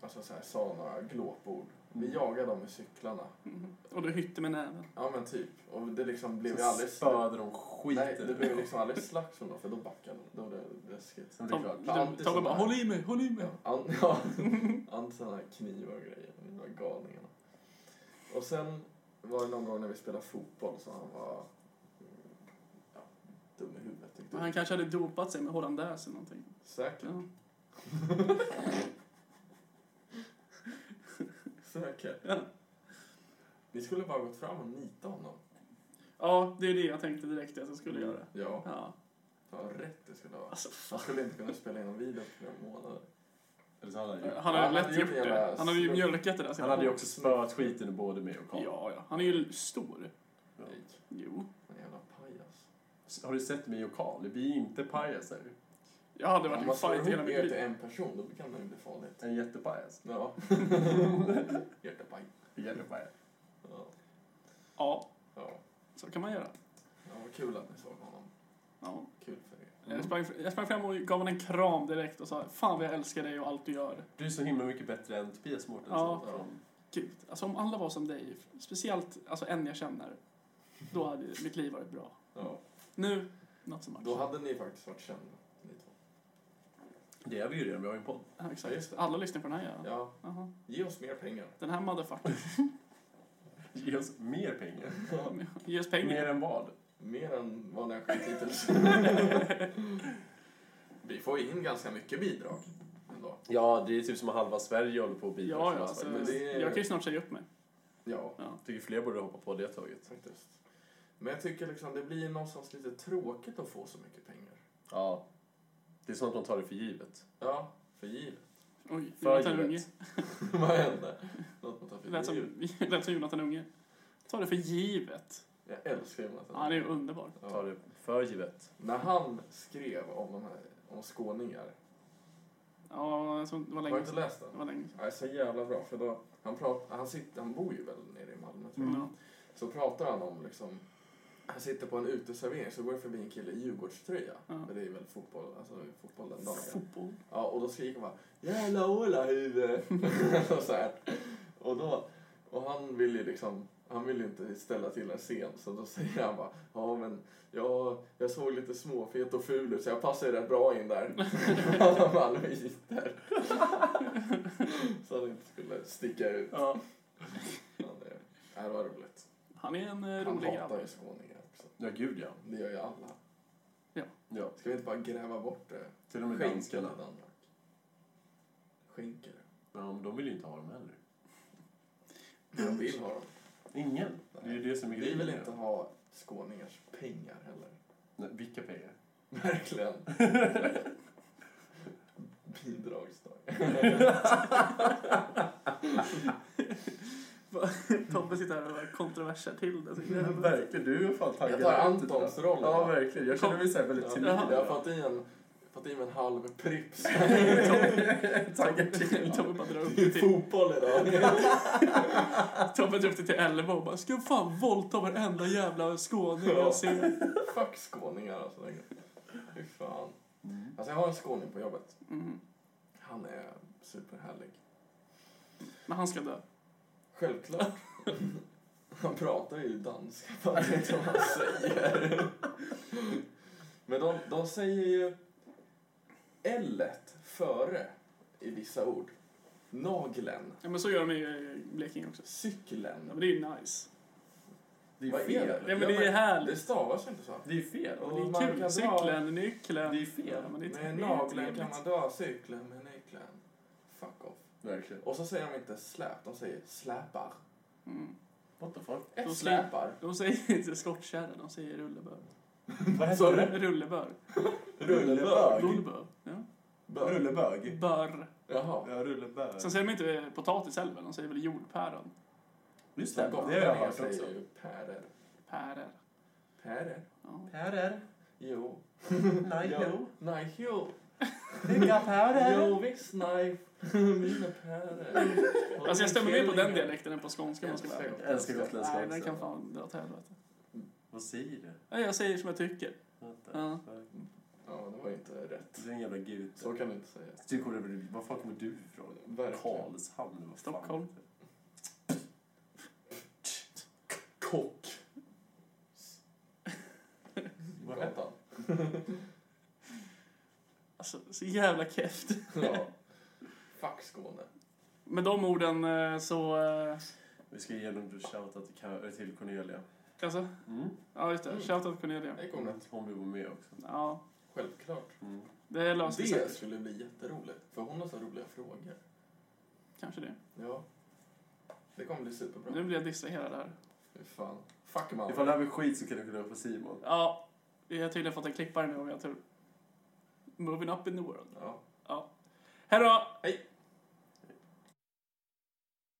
Speaker 2: Alltså så här, sa några glåpord. Vi jagade dem med cyklarna.
Speaker 3: Mhm. Och du hytte med näven.
Speaker 2: Ja men typ. Och det liksom blev ju
Speaker 4: Så
Speaker 2: aldrig...
Speaker 4: spöade de skiten
Speaker 2: Nej, det
Speaker 4: ur
Speaker 2: blev
Speaker 4: dem.
Speaker 2: liksom aldrig slagsmål då, för då backade de. Då blev det läskigt.
Speaker 4: Men det är klart.
Speaker 3: Tom-
Speaker 2: Antis
Speaker 3: du- Tobbe
Speaker 2: som
Speaker 3: bara,
Speaker 2: är-
Speaker 3: håll i mig, håll i mig!
Speaker 2: Ja, an, ja, Anton hade knivar och grejer. De var galningarna. Och sen var det någon gång när vi spelade fotboll så han var mm, ja, dum i huvudet tyckte
Speaker 3: Men
Speaker 2: jag.
Speaker 3: Han kanske hade dopat sig med hollandaise eller någonting.
Speaker 2: Säkert.
Speaker 3: Ja.
Speaker 2: Säkert.
Speaker 3: Ja.
Speaker 2: Ni skulle bara gått fram och nita honom.
Speaker 3: ja, det är det jag tänkte direkt att jag skulle göra.
Speaker 2: Ja,
Speaker 3: Ja.
Speaker 2: fan vad rätt det skulle vara.
Speaker 3: Alltså,
Speaker 2: Han skulle inte kunna spela in en video på flera månader.
Speaker 4: Eller så hade han, ju,
Speaker 3: han har
Speaker 2: Ja,
Speaker 3: ju lätt gjort
Speaker 2: en
Speaker 3: det.
Speaker 2: jävla
Speaker 3: Han har ju
Speaker 2: slump.
Speaker 3: mjölkat det där.
Speaker 4: han hade ju också spöat skiten ur både mig och Karl.
Speaker 3: Ja, ja. Han är ju stor.
Speaker 4: Ja.
Speaker 2: Nej,
Speaker 3: Jo.
Speaker 2: en jävla pajas.
Speaker 4: Har du sett mig och Karl? Vi är inte pajaser.
Speaker 3: Jag hade varit
Speaker 2: Om
Speaker 3: i en
Speaker 2: man slår
Speaker 3: typ fight hela
Speaker 2: ihop
Speaker 3: mitt
Speaker 2: er till
Speaker 3: liv.
Speaker 2: en person, då kan det ju bli farligt.
Speaker 4: En jättepajas.
Speaker 2: Ja. Hjärtapaj.
Speaker 4: Jättepajaj.
Speaker 2: Ja.
Speaker 3: Ja,
Speaker 2: Ja.
Speaker 3: så kan man göra.
Speaker 2: ja, vad kul att ni såg honom.
Speaker 3: Ja.
Speaker 2: Kul för er.
Speaker 3: Jag, sprang, jag sprang fram och gav honom en kram direkt och sa Fan vad jag älskar dig och allt du gör.
Speaker 4: Du är så himla mycket bättre än Tobias Mårtensson.
Speaker 3: Ja. Gud, alltså om alla var som dig, speciellt alltså en jag känner, då hade mitt liv varit bra.
Speaker 4: Ja.
Speaker 3: Nu, not so much.
Speaker 2: Då hade ni faktiskt varit kända, ni två.
Speaker 4: Det är vi ju redan, vi har ju en podd.
Speaker 3: ja,
Speaker 2: Ja, just
Speaker 3: exakt. Alla lyssnar på den här ja.
Speaker 2: Ja,
Speaker 3: Jaha.
Speaker 2: ge oss mer pengar.
Speaker 3: Den här motherfuckern.
Speaker 4: Ge oss mer pengar.
Speaker 3: Ge oss pengar.
Speaker 4: Mer än vad?
Speaker 2: Mer än vad ni har skickat hittills. Vi får ju in ganska mycket bidrag ändå.
Speaker 4: Ja, det är typ som att halva Sverige håller på att bidra.
Speaker 3: Ja,
Speaker 4: till
Speaker 3: ja,
Speaker 4: oss.
Speaker 3: alltså,
Speaker 2: men det är-
Speaker 3: jag kan ju snart säga upp mig.
Speaker 2: Ja,
Speaker 3: Ja.
Speaker 4: Jag tycker fler borde hoppa på det tåget.
Speaker 2: faktiskt. Men jag tycker liksom det blir någonstans lite tråkigt att få så mycket pengar.
Speaker 4: Ja. Det är som att de tar det för givet.
Speaker 2: Ja, för givet.
Speaker 3: Oj,
Speaker 4: För
Speaker 3: Jonathan
Speaker 4: givet.
Speaker 3: Unge.
Speaker 2: Vad hände? Något man tar
Speaker 3: Det lät
Speaker 2: för givet.
Speaker 3: som, det lät som Jonathan Unge. Ta det för givet.
Speaker 2: Jag älskar Jonathan.
Speaker 3: Han är ju underbar.
Speaker 2: Ja.
Speaker 4: Tar det för givet.
Speaker 2: När han skrev om, de här, om skåningar,
Speaker 3: Ja, alltså, det var
Speaker 2: har du
Speaker 3: länge
Speaker 2: inte
Speaker 3: sedan.
Speaker 2: läst
Speaker 3: Det
Speaker 2: den?
Speaker 3: var länge sedan.
Speaker 2: Nej, så jävla bra. För då, han, prat, han, sitter, han bor ju väl nere i Malmö, tror jag.
Speaker 3: Ja.
Speaker 2: Så pratar han om liksom, han sitter på en uteservering så går det förbi en kille i Djurgårdströja.
Speaker 3: Ja.
Speaker 2: Men det är väl fotboll, alltså fotboll den dagen.
Speaker 3: Fotboll.
Speaker 2: Ja, och då skriker han bara Jävla ålahuvud! och så här. Och då, och han vill ju liksom, han vill ju inte ställa till en scen så då säger han bara Ja men jag, jag såg lite småfet och ful ut så jag passar ju rätt bra in där. Alla malmöiter. så han inte skulle sticka ut.
Speaker 3: Ja.
Speaker 2: Ja, det, nej, det var roligt.
Speaker 3: Han är en eh,
Speaker 2: Han
Speaker 3: rolig
Speaker 2: hatar
Speaker 3: grabb.
Speaker 2: ju skåningar också.
Speaker 4: Ja, gud ja.
Speaker 2: Det gör ju alla.
Speaker 4: ja.
Speaker 2: Ska vi inte bara gräva bort det?
Speaker 4: Till och med
Speaker 2: Skänker
Speaker 4: danskarna.
Speaker 2: det Danmark. Skänker det.
Speaker 4: Men om de vill ju inte ha dem heller.
Speaker 2: De vill ha dem.
Speaker 4: Ingen. Det är ju det som är
Speaker 2: Vi
Speaker 4: grejen.
Speaker 2: vill inte ha skåningars pengar heller.
Speaker 4: Nej, vilka pengar?
Speaker 2: Verkligen. Bidragstagare.
Speaker 3: Tobbe sitter här och är kontroversiell till det. så
Speaker 2: Mm.
Speaker 3: jävla-
Speaker 4: verkligen, du är fan
Speaker 2: Jag tar Antons roll.
Speaker 4: Ja, verkligen. Jag känner mig så här väldigt
Speaker 2: Ja.
Speaker 4: timid.
Speaker 2: Jag har
Speaker 4: Ja.
Speaker 2: fått i en, fått i mig en halv Pripps.
Speaker 4: Tackar till.
Speaker 3: Tobbe bara drar upp
Speaker 2: Det
Speaker 3: det
Speaker 2: är
Speaker 3: till,
Speaker 2: fotboll idag.
Speaker 3: Tobbe drar upp det till 11 och bara ska fan våldta varenda jävla skåning jag ser.
Speaker 2: Fuck skåningar alltså. Fy fan.
Speaker 4: Mm.
Speaker 2: Alltså jag har en skåning på jobbet.
Speaker 3: Mm.
Speaker 2: Han är superhärlig.
Speaker 3: Men han ska dö.
Speaker 2: Självklart. Han pratar ju danska, jag vet inte vad han säger. Men de, de säger ju l före i vissa ord. Nageln,
Speaker 3: Ja men så gör de ju i eh, Blekinge också. Ja, men
Speaker 2: cykeln.
Speaker 3: det är ju nice.
Speaker 4: Det är
Speaker 2: Vad är
Speaker 4: fel.
Speaker 2: det?
Speaker 3: Ja men det är härligt.
Speaker 2: Det stavas ju inte så.
Speaker 4: Det är fel.
Speaker 3: Och det
Speaker 2: Och
Speaker 3: är
Speaker 2: man
Speaker 3: kul.
Speaker 2: kan dra-
Speaker 3: Cykeln, nyckeln.
Speaker 4: Det är fel.
Speaker 3: Ja, men det är
Speaker 2: Med
Speaker 3: trevligt.
Speaker 2: nageln kan man dra cykeln med nyckeln. Fuck off.
Speaker 4: Verkligen.
Speaker 2: Och så säger de inte släp, de säger släpar.
Speaker 3: Mm.
Speaker 4: What the fuck?
Speaker 2: Ett
Speaker 3: De
Speaker 2: släpar.
Speaker 3: De säger inte skottkärra, de säger rullebör.
Speaker 4: Vad
Speaker 2: heter det?
Speaker 3: Rullebör.
Speaker 4: Rullebög.
Speaker 3: Rullebör. Ja.
Speaker 2: Bör.
Speaker 4: Rullebög.
Speaker 3: Bör.
Speaker 2: Jaha.
Speaker 4: Ja, rullebög.
Speaker 3: Sen säger de inte potatis heller, väl? de säger väl jordpäron.
Speaker 4: Just det, det har jag
Speaker 2: Gotlänningar
Speaker 4: hört också.
Speaker 2: säger ju pärer.
Speaker 3: Pärer.
Speaker 2: Pärer.
Speaker 3: Ja.
Speaker 4: Pärer.
Speaker 2: Jo.
Speaker 4: Nej,
Speaker 2: Ja. Nej, jo.
Speaker 4: Vilka
Speaker 2: Jo, visst, nej. Mina pärer.
Speaker 3: Alltså jag stämmer mer på den dialekten än på skånska om man ska vara ärlig.
Speaker 2: Älskar
Speaker 4: Älskar gotländska
Speaker 3: Nej,
Speaker 4: också.
Speaker 3: den kan fan dra åt helvete.
Speaker 4: Vad säger du?
Speaker 3: Nej, jag säger som jag tycker.
Speaker 4: What the
Speaker 3: Ja.
Speaker 4: fuck?
Speaker 2: Ja, det var ju inte rätt.
Speaker 4: Du är en jävla gud.
Speaker 2: Så kan du inte säga.
Speaker 4: Du kommer över, var fan kommer du ifrån?
Speaker 2: Verkligen.
Speaker 4: Karlshamn? vad fan
Speaker 3: Stockholm.
Speaker 4: heter det?
Speaker 2: Kock.
Speaker 4: Vad hette
Speaker 2: Gatan.
Speaker 3: Alltså, så jävla keft.
Speaker 2: Ja. Fuck Skåne.
Speaker 3: Med de orden eh, så... eh,
Speaker 4: Vi ska ge en shoutout till, Ka- till Cornelia.
Speaker 3: Alltså,
Speaker 4: Mm.
Speaker 3: ja just det. Shoutout Cornelia.
Speaker 2: Det kommer
Speaker 4: Hon,
Speaker 2: rätt.
Speaker 4: hon vill vara med också.
Speaker 3: Ja,
Speaker 2: Självklart.
Speaker 4: Mm.
Speaker 3: det löser sig
Speaker 2: Det
Speaker 3: säkert.
Speaker 2: skulle bli jätteroligt. För hon har så roliga frågor.
Speaker 3: Kanske det.
Speaker 2: Ja. Det kommer bli
Speaker 3: Nu
Speaker 2: superbra.
Speaker 3: blir jag distraherad här.
Speaker 2: Fy fan. Fuck man.
Speaker 4: Ifall det här blir skit så kan du kunna på Simon.
Speaker 3: Ja, vi har tydligen fått en klippare nu om jag har tur. Moving up in the world.
Speaker 2: Ja.
Speaker 3: Ja. Hej då!
Speaker 2: Hej.